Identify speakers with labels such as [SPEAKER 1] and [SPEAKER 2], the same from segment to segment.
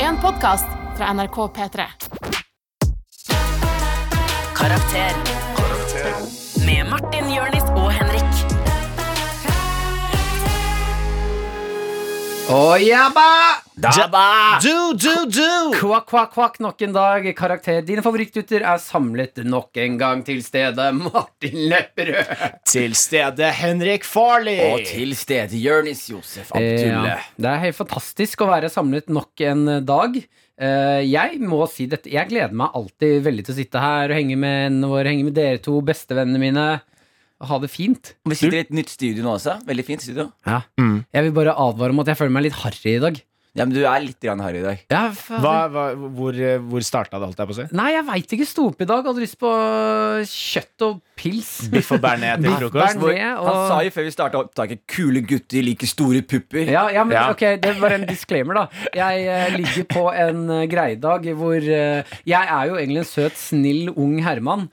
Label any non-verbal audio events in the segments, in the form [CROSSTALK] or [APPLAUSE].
[SPEAKER 1] en podkast fra NRK P3.
[SPEAKER 2] Karakter. Med Martin, Jørnis og Henrik.
[SPEAKER 3] Å, jabba!
[SPEAKER 4] Jabba!
[SPEAKER 3] Do, do, do! Kvakk, kvakk, kvakk nok en dag. Karakter. Dine favorittgutter er samlet nok en gang til stedet. Martin Lepperød.
[SPEAKER 4] Til stede Henrik Farley.
[SPEAKER 5] Og til stede Jørnis Josef Abdulle.
[SPEAKER 3] Eh, Ja, det er helt fantastisk å være samlet nok en dag. Eh, Jeg må si dette Jeg gleder meg alltid veldig til å sitte her og henge med henne vår, henge med dere to, bestevennene mine. Og ha det fint.
[SPEAKER 5] Vi sitter i et nytt studio nå også. Veldig fint studio.
[SPEAKER 3] Jeg vil bare advare om at jeg føler meg litt harry i dag.
[SPEAKER 5] Ja, men Du er litt grann harry i dag.
[SPEAKER 3] Ja, faen.
[SPEAKER 4] Hva, hva, hvor
[SPEAKER 3] eh,
[SPEAKER 4] hvor starta det, holdt jeg på å si?
[SPEAKER 3] Nei, jeg veit ikke. Sto opp i dag, hadde lyst på kjøtt og pils.
[SPEAKER 4] Biff og bearnés til
[SPEAKER 3] Biff
[SPEAKER 4] frokost.
[SPEAKER 3] bearnés.
[SPEAKER 5] Hvor,
[SPEAKER 3] Med, og-
[SPEAKER 5] han sa jo før vi starta opptaket 'kule gutter liker store pupper'.
[SPEAKER 3] Ja, ja, men
[SPEAKER 4] Ja.
[SPEAKER 3] ok, det var en disclaimer da Jeg eh, ligger på en eh, greiedag Hvor eh, jeg er jo egentlig en søt, snill, ung herremann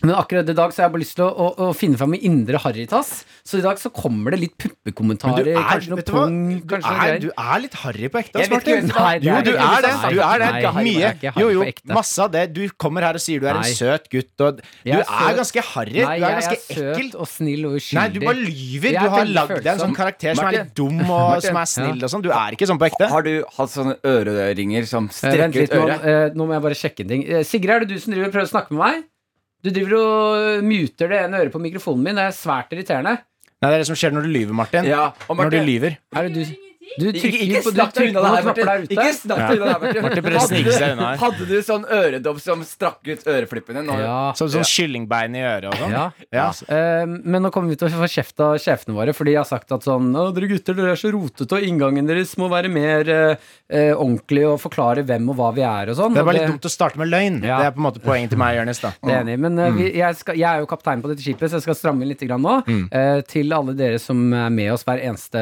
[SPEAKER 3] Men akkurat i dag så har jeg bare lyst til å, å, å finne frem min indre harritas Så i dag så kommer det litt
[SPEAKER 4] Men
[SPEAKER 3] puppekommentarer Kanskje noe
[SPEAKER 4] vet du hva?
[SPEAKER 3] pung,
[SPEAKER 4] Du
[SPEAKER 3] kanskje noe
[SPEAKER 4] er,
[SPEAKER 3] greier
[SPEAKER 4] du er litt harry på ekte,
[SPEAKER 3] Jeg
[SPEAKER 4] ass,
[SPEAKER 3] vet ikke
[SPEAKER 4] Martin.
[SPEAKER 3] hvem- Nei, det er
[SPEAKER 4] Jo,
[SPEAKER 3] jeg
[SPEAKER 4] du
[SPEAKER 3] ikke.
[SPEAKER 4] er det.
[SPEAKER 3] Nei,
[SPEAKER 4] Du er det.
[SPEAKER 3] nei, harry
[SPEAKER 4] Mye.
[SPEAKER 3] er ikke harry
[SPEAKER 4] Jo, jo,
[SPEAKER 3] på ekte.
[SPEAKER 4] masse av det. Du kommer her og sier du er
[SPEAKER 3] Nei.
[SPEAKER 4] en søt gutt, og du
[SPEAKER 3] Jeg
[SPEAKER 4] er
[SPEAKER 3] søt.
[SPEAKER 4] ganske harry.
[SPEAKER 3] Nei,
[SPEAKER 4] Du er
[SPEAKER 3] jeg
[SPEAKER 4] ganske
[SPEAKER 3] er søt
[SPEAKER 4] ekkel.
[SPEAKER 3] og snill og uskyldig
[SPEAKER 4] Nei, du bare lyver.
[SPEAKER 3] Jeg er
[SPEAKER 4] Du har
[SPEAKER 3] veldig
[SPEAKER 4] lagd deg en
[SPEAKER 3] følsom.
[SPEAKER 4] sånn karakter som er
[SPEAKER 3] Martin.
[SPEAKER 4] litt dum, og som er snill og sånn. Du er ikke sånn på ekte.
[SPEAKER 5] Har du hatt sånne øreringer som
[SPEAKER 3] Eh, Vent
[SPEAKER 5] strekker
[SPEAKER 3] litt,
[SPEAKER 5] ut
[SPEAKER 3] nå,
[SPEAKER 5] øret?
[SPEAKER 3] eh, nå må jeg bare sjekke en ting Eh, Sigrid, er det du som driver og prøver å snakke med meg? Du driver og muter det ene øret på mikrofonen min Det er svært irriterende
[SPEAKER 4] Nei, det er det som skjer når du lyver, Martin.
[SPEAKER 5] Ja, og
[SPEAKER 4] Når du
[SPEAKER 5] Marte,
[SPEAKER 4] lyver.
[SPEAKER 3] Er det du Du
[SPEAKER 5] ikke,
[SPEAKER 3] trykker
[SPEAKER 5] ikke
[SPEAKER 3] på du
[SPEAKER 5] snakk deg
[SPEAKER 3] trykker på
[SPEAKER 5] unna det
[SPEAKER 3] noen
[SPEAKER 5] her,
[SPEAKER 3] knapper
[SPEAKER 5] Martin.
[SPEAKER 3] der ute.
[SPEAKER 5] Ikke snakk deg unna det her, Martin.
[SPEAKER 4] Marte prøver å
[SPEAKER 5] Hadde
[SPEAKER 4] snike seg
[SPEAKER 5] du-
[SPEAKER 4] unna her.
[SPEAKER 5] Hadde du sånn øredobb som strakk ut øreflippene? Nå?
[SPEAKER 3] Ah, Ja.
[SPEAKER 4] Som sånn kyllingbein i øret og sånn.
[SPEAKER 3] Ja.
[SPEAKER 4] Ja.
[SPEAKER 3] Eh, men nå kommer vi til å få kjeft av sjefene våre, fordi jeg har sagt at sånn Å, dere gutter, dere er så rotete, og inngangen deres må være mer eh, eh, ordentlig og forklare hvem og hva vi er og sånn.
[SPEAKER 4] Det er
[SPEAKER 3] og
[SPEAKER 4] bare litt dumt å starte med løgn.
[SPEAKER 3] Ja.
[SPEAKER 4] Det er på en måte poenget til meg og Jonis. da.
[SPEAKER 3] Det er jeg enig. i, Men eh, vi, jeg, skal, jeg er jo kaptein på dette skipet, så jeg skal stramme inn litt grann nå. Eh, til alle dere som er med oss hver eneste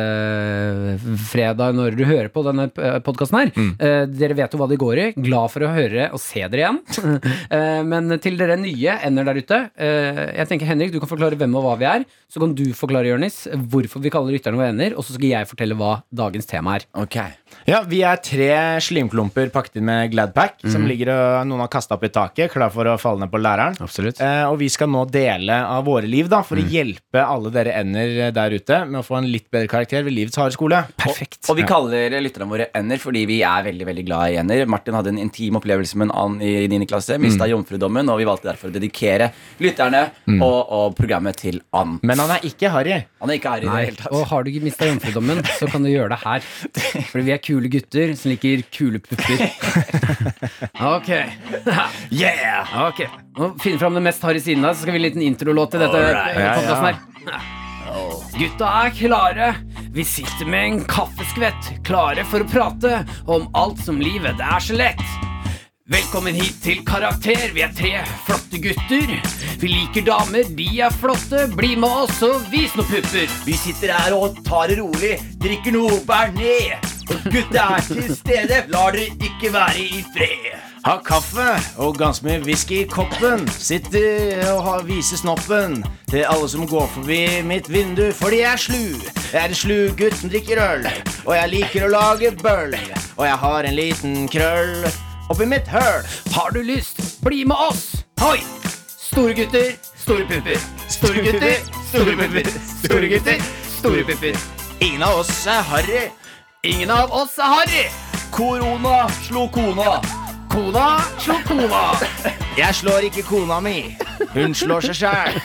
[SPEAKER 3] eh, fredag når du hører på denne podkasten her. Eh, dere vet jo hva det går i. Glad for å høre og se dere igjen. [LAUGHS] Eh, men til dere nye ender der ute. eh, jeg tenker Henrik, du kan forklare hvem og hva vi er. Så kan du forklare, Jonis, hvorfor vi kaller lytterne våre ender. Og så skal jeg fortelle hva dagens tema er.
[SPEAKER 5] Ok.
[SPEAKER 4] Ja, Vi er tre slimklumper pakket inn med Gladpack, som
[SPEAKER 3] Mhm.
[SPEAKER 4] ligger og noen har kasta opp i taket, klar for å falle ned på læreren.
[SPEAKER 3] Absolutt. Mhm.
[SPEAKER 4] Eh, og vi skal nå dele av våre liv da, for å hjelpe alle dere ender der ute med å få en litt bedre karakter ved livets harde skole.
[SPEAKER 3] Perfekt.
[SPEAKER 5] Og vi kaller lytterne våre ender fordi vi er veldig veldig glad i ender. Martin hadde en intim opplevelse med en annen i 9. klasse.
[SPEAKER 4] Mm.
[SPEAKER 5] Mista jomfrudommen, og vi valgte derfor å dedikere lytterne
[SPEAKER 4] Mm.
[SPEAKER 5] og, og programmet til and.
[SPEAKER 4] Men han er ikke harry.
[SPEAKER 5] Han er ikke her i det
[SPEAKER 3] Nei,
[SPEAKER 5] hele tatt.
[SPEAKER 3] og har du ikke mista jomfrudommen, så kan du gjøre det her. Fordi vi er kule gutter som liker kule
[SPEAKER 5] [LAUGHS]
[SPEAKER 3] pupper. Ok.
[SPEAKER 5] Yeah!
[SPEAKER 3] ok Nå Finn fram det mest harde siden av, så skal vi ha en liten introlåt til dette.
[SPEAKER 5] Alright.
[SPEAKER 4] Ja, ja.
[SPEAKER 3] podcasten her Gutta er klare. Vi sitter med en kaffeskvett, klare for å prate om alt som livet. Det er så lett. Velkommen hit til Karakter. Vi er tre flotte gutter. Vi liker damer, de er flotte. Bli med oss og vis noen pupper.
[SPEAKER 5] Vi sitter her og tar det rolig, drikker noe bearnés. Og gutta er til stede, lar dere ikke være i fred.
[SPEAKER 4] Ha kaffe og ganske mye whisky i koppen. Sitter og har, viser snoppen til alle som går forbi mitt vindu, for de er slu. Jeg er en slu gutt som drikker øl, og jeg liker å lage bøll. Og jeg har en liten krøll oppi mitt høl.
[SPEAKER 3] Har du lyst, bli med oss! Hoi! Store gutter, store pupper. Store gutter, store pupper. Store gutter, store pupper.
[SPEAKER 4] Ingen av oss er harry.
[SPEAKER 3] Ingen av oss er harry.
[SPEAKER 4] Korona slo kona.
[SPEAKER 3] Kona slo kona.
[SPEAKER 4] Jeg slår ikke kona mi. Hun slår seg sjæl.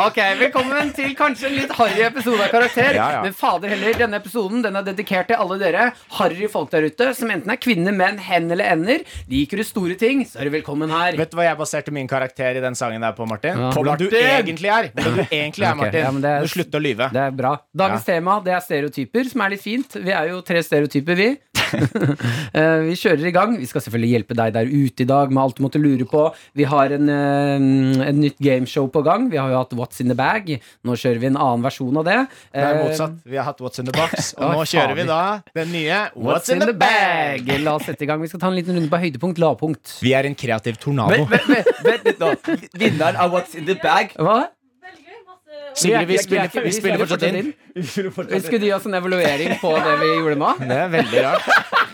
[SPEAKER 3] Ok, Velkommen til kanskje en litt harry episode av Karakter.
[SPEAKER 4] Ja, ja.
[SPEAKER 3] Men fader heller, denne episoden den er dedikert til alle dere harry folk der ute som enten er kvinner, menn, hen eller ender. Liker du store ting, så er du velkommen her.
[SPEAKER 4] Vet du hva jeg baserte min karakter i den sangen der på, Martin?
[SPEAKER 3] Ja.
[SPEAKER 4] Hvordan du
[SPEAKER 3] Martin!
[SPEAKER 4] egentlig er. Hvordan du egentlig er,
[SPEAKER 3] Ok,
[SPEAKER 4] Martin.
[SPEAKER 3] ja, men det er-
[SPEAKER 4] Du slutter å lyve.
[SPEAKER 3] Det er bra. Dagens tema det er stereotyper, som er litt fint. Vi er jo tre stereotyper,
[SPEAKER 4] [LAUGHS]
[SPEAKER 3] vi. Eh, vi kjører i gang. Vi skal selvfølgelig hjelpe deg der ute i dag med alt du måtte lure på. Vi har en, eh, et nytt gameshow på gang. Vi har jo hatt What's in the bag. Nå kjører vi en annen versjon av det.
[SPEAKER 4] Det er
[SPEAKER 3] Eh,
[SPEAKER 4] motsatt. Vi har hatt What's in the box, og
[SPEAKER 3] Å,
[SPEAKER 4] nå kjører vi da den nye What's in the bag.
[SPEAKER 3] La oss sette i gang. Vi skal ta en liten runde på høydepunkt, lavpunkt.
[SPEAKER 4] Vi er en kreativ tornado.
[SPEAKER 5] Vent, vent, vent, vent litt nå. Vinneren av What's in the
[SPEAKER 3] [LAUGHS]
[SPEAKER 5] bag.
[SPEAKER 3] Hva?
[SPEAKER 4] Sigrid, vi
[SPEAKER 3] Vi er-
[SPEAKER 4] spiller,
[SPEAKER 3] vi er-
[SPEAKER 4] vi spiller fortsatt inn.
[SPEAKER 3] Skulle de gi oss en evaluering på det vi gjorde nå?
[SPEAKER 4] Det er veldig rart.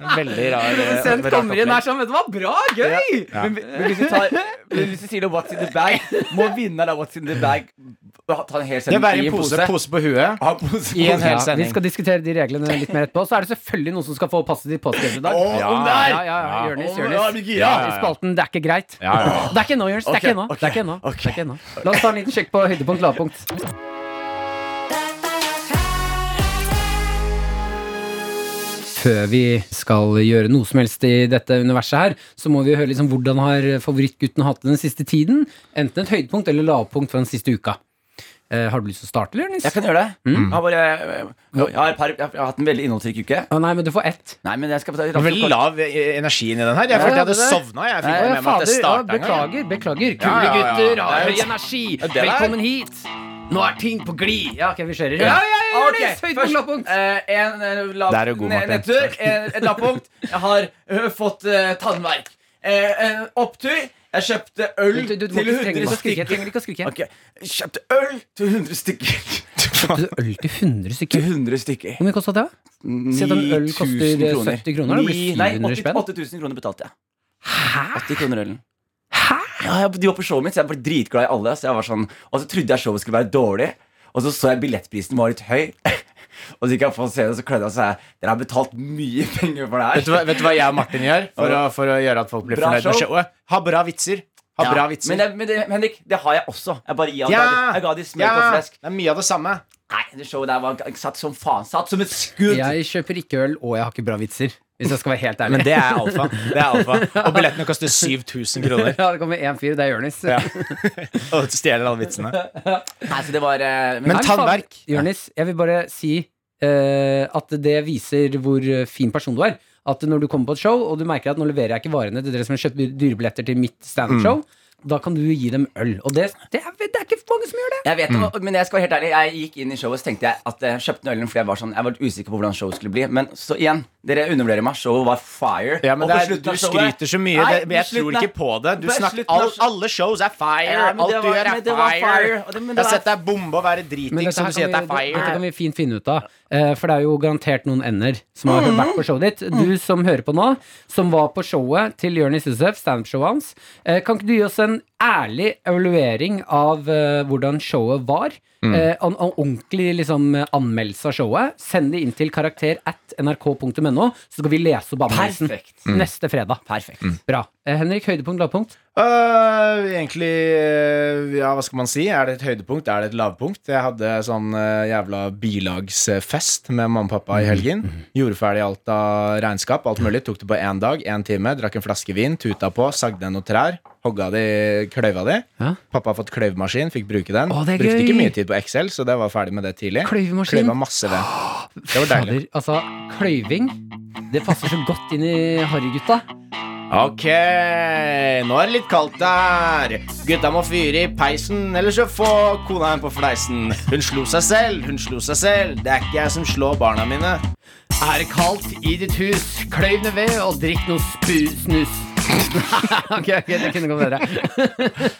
[SPEAKER 6] Veldig rar
[SPEAKER 3] [LAUGHS]
[SPEAKER 6] eh,
[SPEAKER 3] Produsent
[SPEAKER 6] rart
[SPEAKER 3] kommer inn
[SPEAKER 6] opplegg.
[SPEAKER 3] her sånn, vet du hva, bra, gøy!
[SPEAKER 5] Men, men hvis, du tar, men hvis du sier noe What's in the bag, må vinneren av What's in the bag ta en
[SPEAKER 4] Det
[SPEAKER 5] hel
[SPEAKER 4] er
[SPEAKER 5] sending
[SPEAKER 4] bare en pose, pose på huet.
[SPEAKER 5] Ha en pose.
[SPEAKER 4] I en
[SPEAKER 3] Ja,
[SPEAKER 4] hel
[SPEAKER 3] vi
[SPEAKER 4] sending.
[SPEAKER 3] skal diskutere de reglene litt mer etterpå. Så er det selvfølgelig noen som skal få passet sitt påskrevet i dag.
[SPEAKER 5] Å, om
[SPEAKER 3] ja,
[SPEAKER 5] der!
[SPEAKER 3] ja, ja, ja. Jonis,
[SPEAKER 5] Om- ja, jeg blir
[SPEAKER 3] Jonis.
[SPEAKER 5] gira.
[SPEAKER 3] Ja, I spalten Det er ikke greit.
[SPEAKER 6] Ja, ja, ja.
[SPEAKER 3] Det er ikke ennå, Jonis. Det er ikke ennå. Det er ikke ennå. Det er ikke ennå. La oss ta en liten sjekk på høydepunkt, lavpunkt. Før vi skal gjøre noe som helst i dette universet her, så må vi høre liksom hvordan har favorittgutten hatt det den siste tiden. Enten et høydepunkt eller lavpunkt fra den siste uka. Eh, har du lyst til å starte, eller, Jonis?
[SPEAKER 5] Jeg kan gjøre det.
[SPEAKER 4] Mm.
[SPEAKER 5] Jeg, har bare, jeg, har et par, jeg har hatt en veldig innholdsrik uke.
[SPEAKER 3] Å, nei, men du får ett.
[SPEAKER 5] Nei, men jeg skal ta
[SPEAKER 4] Veldig lav eh, energi inni den her. Jeg
[SPEAKER 3] Ja,
[SPEAKER 4] følte jeg hadde
[SPEAKER 3] det er det.
[SPEAKER 4] sovna. Jeg
[SPEAKER 3] Å,
[SPEAKER 4] fikk ikke
[SPEAKER 3] ja,
[SPEAKER 4] med meg at det
[SPEAKER 3] fader. Ja,
[SPEAKER 4] starta engang.
[SPEAKER 3] beklager, beklager. Kule
[SPEAKER 4] Ja, ja, ja.
[SPEAKER 3] gutter har
[SPEAKER 4] Det er
[SPEAKER 3] høy
[SPEAKER 4] jo-
[SPEAKER 3] energi.
[SPEAKER 4] det der.
[SPEAKER 3] Velkommen hit. Nå er ting på glid. Ja, Ah, ok, vi kjører.
[SPEAKER 5] Ja,
[SPEAKER 3] ja, ja,
[SPEAKER 5] Ok,
[SPEAKER 3] Jonis, høyt på
[SPEAKER 5] først,
[SPEAKER 3] lavpunkt.
[SPEAKER 5] eh, en eh, lav,
[SPEAKER 4] Der er du god,
[SPEAKER 5] ne-
[SPEAKER 4] Martin.
[SPEAKER 5] nedtur, en, et lavpunkt. Jeg har eh, fått eh, tannverk. Eh, en opptur. Jeg kjøpte øl
[SPEAKER 3] Du, du, du må
[SPEAKER 5] til
[SPEAKER 3] ikke trenger
[SPEAKER 5] 100
[SPEAKER 3] ikke å skrike.
[SPEAKER 5] stykker.
[SPEAKER 3] Trenger ikke å skrike.
[SPEAKER 5] Ok, Jeg kjøpte øl til 100 stykker.
[SPEAKER 4] [LAUGHS]
[SPEAKER 3] Du øl til 100
[SPEAKER 5] Til
[SPEAKER 3] stykker.
[SPEAKER 5] 100 stykker.
[SPEAKER 3] Hvor mye kosta det? Se at en øl
[SPEAKER 5] 9000
[SPEAKER 3] koster 70 kroner, da blir det
[SPEAKER 5] Ni- Nei,
[SPEAKER 3] 700
[SPEAKER 5] 80
[SPEAKER 3] spenn.
[SPEAKER 5] 8000 kroner betalte jeg. 80 kroner ølen. Ja, jeg, de var på showet mitt, så jeg ble dritglad i alle. Så jeg var sånn, og så trodde jeg showet skulle være dårlig, og så så jeg billettprisen var litt høy. [LAUGHS] Og så gikk jeg på scenen og så klødde jeg og sa Dere har betalt mye penger for det
[SPEAKER 4] Vet du,
[SPEAKER 5] her.
[SPEAKER 4] hva, vet du hva jeg og Martin gjør for å, for å gjøre at folk blir
[SPEAKER 5] Bra
[SPEAKER 4] fornøyd med
[SPEAKER 5] show.
[SPEAKER 4] showet? Ha bra vitser. Ha
[SPEAKER 5] Ja,
[SPEAKER 4] bra vitser.
[SPEAKER 5] Men, det, men det, Henrik, det har jeg også. Jeg bare ga
[SPEAKER 4] ja,
[SPEAKER 5] dem- jeg ga de smør på flesk.
[SPEAKER 4] det er mye av det samme.
[SPEAKER 5] Nei, det showet der var satt som faen. Satt som et skudd.
[SPEAKER 3] Jeg kjøper ikke øl, og jeg har ikke bra vitser. Hvis jeg skal være helt
[SPEAKER 4] Men
[SPEAKER 3] ærlig.
[SPEAKER 4] det er alfa. Det er alfa. Og billettene koster 7000 [LAUGHS] kroner.
[SPEAKER 3] Ja, det kommer én fyr, det er Jonis.
[SPEAKER 4] Ja. Og du stjeler alle vitsene.
[SPEAKER 5] Nei, så det var eh,
[SPEAKER 4] Men
[SPEAKER 3] Nei,
[SPEAKER 4] tannverk
[SPEAKER 3] faen, Jonis, jeg vil bare si eh, at det viser hvor eh, fin person du er. At når du kommer på et show, og du merker at nå leverer jeg ikke varene til dere som har kjøpt dyrebilletter til mitt standup-show, da kan du gi dem øl. Og det, det, er, det er ikke mange som gjør det.
[SPEAKER 5] Jeg
[SPEAKER 4] Mm.
[SPEAKER 5] vet det, men jeg skal være helt ærlig Jeg gikk inn i showet så tenkte jeg at jeg kjøpte den ølen fordi jeg var sånn Jeg var litt usikker på hvordan showet skulle bli. Men så igjen, dere undervurderer meg. Showet var fire.
[SPEAKER 4] ja, men
[SPEAKER 5] Og
[SPEAKER 4] det
[SPEAKER 5] på
[SPEAKER 4] er,
[SPEAKER 5] slutten
[SPEAKER 4] Du
[SPEAKER 5] av showet-
[SPEAKER 4] skryter så mye,
[SPEAKER 5] Nei,
[SPEAKER 4] det, men jeg
[SPEAKER 5] på
[SPEAKER 4] tror
[SPEAKER 5] slutten av-
[SPEAKER 4] ikke på det. Du
[SPEAKER 5] på
[SPEAKER 4] snakker,
[SPEAKER 5] slutten av
[SPEAKER 4] all,
[SPEAKER 5] show-
[SPEAKER 4] alle shows er fire.
[SPEAKER 5] Ja, men
[SPEAKER 4] Alt
[SPEAKER 5] det
[SPEAKER 4] du
[SPEAKER 5] var-
[SPEAKER 4] gjør
[SPEAKER 5] men
[SPEAKER 4] er
[SPEAKER 5] det var
[SPEAKER 4] fire.
[SPEAKER 5] fire, og det- men
[SPEAKER 4] Jeg
[SPEAKER 5] det
[SPEAKER 4] har
[SPEAKER 5] var-
[SPEAKER 4] sett deg bombe og være dritings,
[SPEAKER 3] dette
[SPEAKER 5] sånn
[SPEAKER 4] som du sier at
[SPEAKER 3] kan
[SPEAKER 4] det er
[SPEAKER 3] vi, dette kan vi
[SPEAKER 4] fire.
[SPEAKER 3] fint finne ut av. Eh, For det er jo garantert noen ender som har vært på showet ditt. Du
[SPEAKER 4] Mm.
[SPEAKER 3] som hører på nå, som var på showet til Jonis Yousef, standup-showet hans. eh, Kan ikke du gi oss en ærlig evaluering av eh, hvordan showet var?
[SPEAKER 4] Mm.
[SPEAKER 3] Eh, En en ordentlig liksom, eh, anmeldelse av showet. Send det inn til karakter at nrk.no, så skal vi lese opp anmeldelsen
[SPEAKER 5] Perfekt.
[SPEAKER 4] Mm.
[SPEAKER 3] neste fredag.
[SPEAKER 5] Perfekt.
[SPEAKER 3] Bra. Eh, Henrik, høydepunkt, lavpunkt?
[SPEAKER 4] Øh, egentlig øh, Ja, hva skal man si? Er det et høydepunkt? Er det et lavpunkt? Jeg hadde sånn øh, jævla bilagsfest med mamma og
[SPEAKER 3] Mhm,
[SPEAKER 4] pappa i helgen. Gjorde ferdig alt av regnskap, alt mulig. Tok det på én dag, én time. Drakk en flaske vin, tuta på, sagde ned noen trær. Hogga de kløyva de.
[SPEAKER 3] Ja.
[SPEAKER 4] Pappa har fått kløyvemaskin, fikk bruke den.
[SPEAKER 3] Å, det er
[SPEAKER 4] Brukte
[SPEAKER 3] gøy.
[SPEAKER 4] ikke mye tid på Excel, så det var ferdig med det tidlig.
[SPEAKER 3] Kløyvemaskin.
[SPEAKER 4] Kløyva masse ved. Det var
[SPEAKER 3] Fader,
[SPEAKER 4] deilig.
[SPEAKER 3] altså, kløyving, det passer så godt inn i Harry-gutta.
[SPEAKER 4] Ok, nå er det litt kaldt der. Gutta må fyre i peisen, ellers så får kona henne på fleisen. Hun slo seg selv, hun slo seg selv. Det er ikke jeg som slår barna mine.
[SPEAKER 3] Er det kaldt i ditt hus, kløyv ned ved og drikk noe spusnus. [LAUGHS] ok, ok, det kunne gått bedre. [LAUGHS]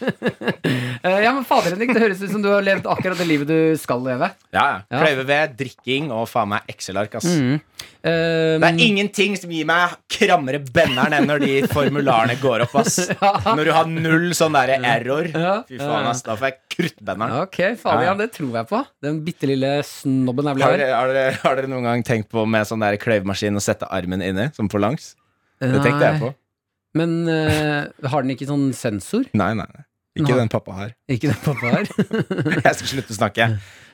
[SPEAKER 3] Eh, ja, men fader Henrik, det høres ut som du har levd akkurat det livet du skal leve.
[SPEAKER 4] Ja,
[SPEAKER 3] Ja. Mm.
[SPEAKER 4] Kløyve ved, drikking og faen meg Excel-ark, ass.
[SPEAKER 3] Eh,
[SPEAKER 4] Mm. Det er ingenting som gir meg krammere benneren enn når de formularene går opp,
[SPEAKER 3] [LAUGHS]
[SPEAKER 4] ass. Når du har null sånn derre error.
[SPEAKER 3] Ja. eh,
[SPEAKER 4] Fy faen, ass. Da får jeg kruttbenneren.
[SPEAKER 3] Ok, fader, ja, det tror jeg på. Den bitte lille snobben jeg ble
[SPEAKER 4] Har
[SPEAKER 3] her.
[SPEAKER 4] dere, har, dere, har dere noen gang tenkt på med sånn der kløyvemaskin å sette armen inni, som på langs? Det tenkte jeg på.
[SPEAKER 3] Men eh, har den ikke sånn sensor?
[SPEAKER 4] Nei, nei, nei. Ikke
[SPEAKER 3] Nei.
[SPEAKER 4] den pappa har.
[SPEAKER 3] Ikke den pappa har?
[SPEAKER 4] [LAUGHS] Jeg skal slutte å
[SPEAKER 3] [LAUGHS]
[SPEAKER 4] snakke.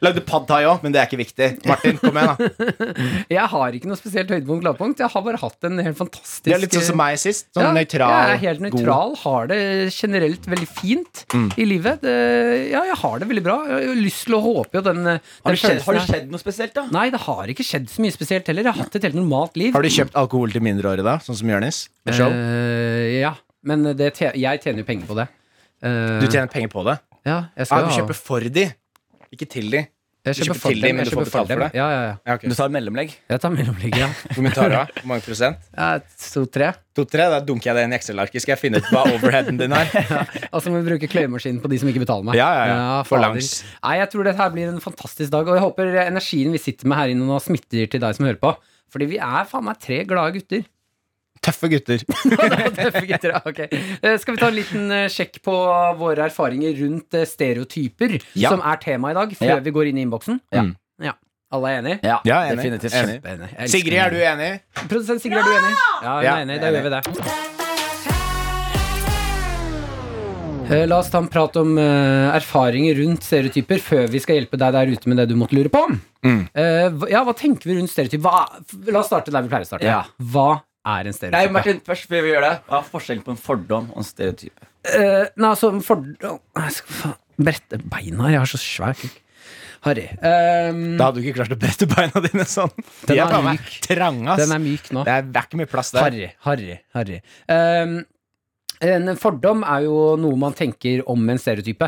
[SPEAKER 4] Lagde pad thai òg, men det er ikke viktig. Martin, kom igjen, da.
[SPEAKER 3] Jeg har ikke noe spesielt høydepunkt lavpunkt. Jeg har bare hatt en helt fantastisk
[SPEAKER 4] Det er litt sånn som meg sist. Sånn nøytral.
[SPEAKER 3] Jeg er helt
[SPEAKER 4] god. Mm.
[SPEAKER 3] nøytral. Har det generelt veldig fint i livet. Det, ja, jeg har det veldig bra. Jeg har jo lyst til å håpe jo den, den
[SPEAKER 5] Har det
[SPEAKER 3] følelsen
[SPEAKER 5] skjedd, har det
[SPEAKER 3] her-
[SPEAKER 5] skjedd noe spesielt, da?
[SPEAKER 3] Nei, det har ikke skjedd så mye spesielt heller. Jeg har hatt et helt normalt liv.
[SPEAKER 4] Har du kjøpt alkohol til mindreårige, da? Sånn som Jonis? Med show?
[SPEAKER 3] Eh, ja, men det, te- jeg tjener jo penger på det. Eh,
[SPEAKER 4] Du tjener penger på det?
[SPEAKER 3] ja, jeg
[SPEAKER 4] Ja,
[SPEAKER 3] skal jo
[SPEAKER 4] du
[SPEAKER 3] ha-
[SPEAKER 4] kjøper for de, ikke til de.
[SPEAKER 3] jeg
[SPEAKER 4] du kjøper
[SPEAKER 3] for
[SPEAKER 4] til dem, men
[SPEAKER 3] jeg
[SPEAKER 4] du får
[SPEAKER 3] kjøper
[SPEAKER 4] betalt for
[SPEAKER 3] dem.
[SPEAKER 4] det.
[SPEAKER 3] Ja, ja, ja.
[SPEAKER 4] Ja, ok.
[SPEAKER 5] Du tar mellomlegg?
[SPEAKER 3] Jeg tar mellomligget,
[SPEAKER 4] [LAUGHS]
[SPEAKER 3] ja.
[SPEAKER 4] Kommentarer, da? Hvor mange prosent?
[SPEAKER 3] Ja, To-tre.
[SPEAKER 4] To-tre, da dunker jeg det i en Excel-arket. Skal jeg finne ut hva overheaden din er?
[SPEAKER 3] [LAUGHS] Og så Altså, må vi bruke kløyemaskinen på de som ikke betaler meg.
[SPEAKER 4] Ja, ja, ja. For
[SPEAKER 3] fader.
[SPEAKER 4] langs.
[SPEAKER 3] Nei, jeg tror dette her blir en fantastisk dag, og jeg håper energien vi sitter med her inne nå, smitter til deg som hører på. Fordi vi er faen meg tre glade gutter. [LAUGHS]
[SPEAKER 4] Tøffe gutter.
[SPEAKER 3] Tøffe gutter, ja, ok. Eh, Skal vi ta en liten eh, sjekk på våre erfaringer rundt eh, stereotyper,
[SPEAKER 5] Ja.
[SPEAKER 3] som er tema i dag, før
[SPEAKER 5] Ja.
[SPEAKER 3] vi går inn i innboksen?
[SPEAKER 5] Ja.
[SPEAKER 4] Mm.
[SPEAKER 3] Ja. Alle er enig?
[SPEAKER 5] Ja,
[SPEAKER 4] Ja, enig.
[SPEAKER 5] definitivt.
[SPEAKER 4] Enig.
[SPEAKER 3] Enig. Jeg elsker
[SPEAKER 4] Sigrid, er du enig?
[SPEAKER 3] Produsent Sigrid, er du enig? Ja, hun
[SPEAKER 4] Ja,
[SPEAKER 3] er enig. Da
[SPEAKER 4] enig.
[SPEAKER 3] gjør vi det. Eh, La oss ta en prat om eh, erfaringer rundt stereotyper før vi skal hjelpe deg der ute med det du måtte lure på. Eh, hva- ja, Hva tenker vi rundt stereotyper? Hva, f- la oss starte der vi pleier å starte.
[SPEAKER 5] Ja.
[SPEAKER 3] Hva er en
[SPEAKER 5] Nei,
[SPEAKER 3] stereotype?
[SPEAKER 5] Martin, først før vi gjør det, hva er forskjellen på en fordom og en stereotype?
[SPEAKER 3] Eh, nei, altså for, å, Jeg skal faen brette beina her. Jeg har så svær kuk. Harry. ehm,
[SPEAKER 4] Da hadde du ikke klart å brette beina dine sånn.
[SPEAKER 3] Den
[SPEAKER 4] De
[SPEAKER 3] er
[SPEAKER 4] er faen meg
[SPEAKER 3] myk.
[SPEAKER 4] trange, ass.
[SPEAKER 3] den er myk nå.
[SPEAKER 4] Det er det er ikke mye plass der.
[SPEAKER 3] Harry, harry, harry. Ehm, en fordom er jo noe man tenker om en stereotype.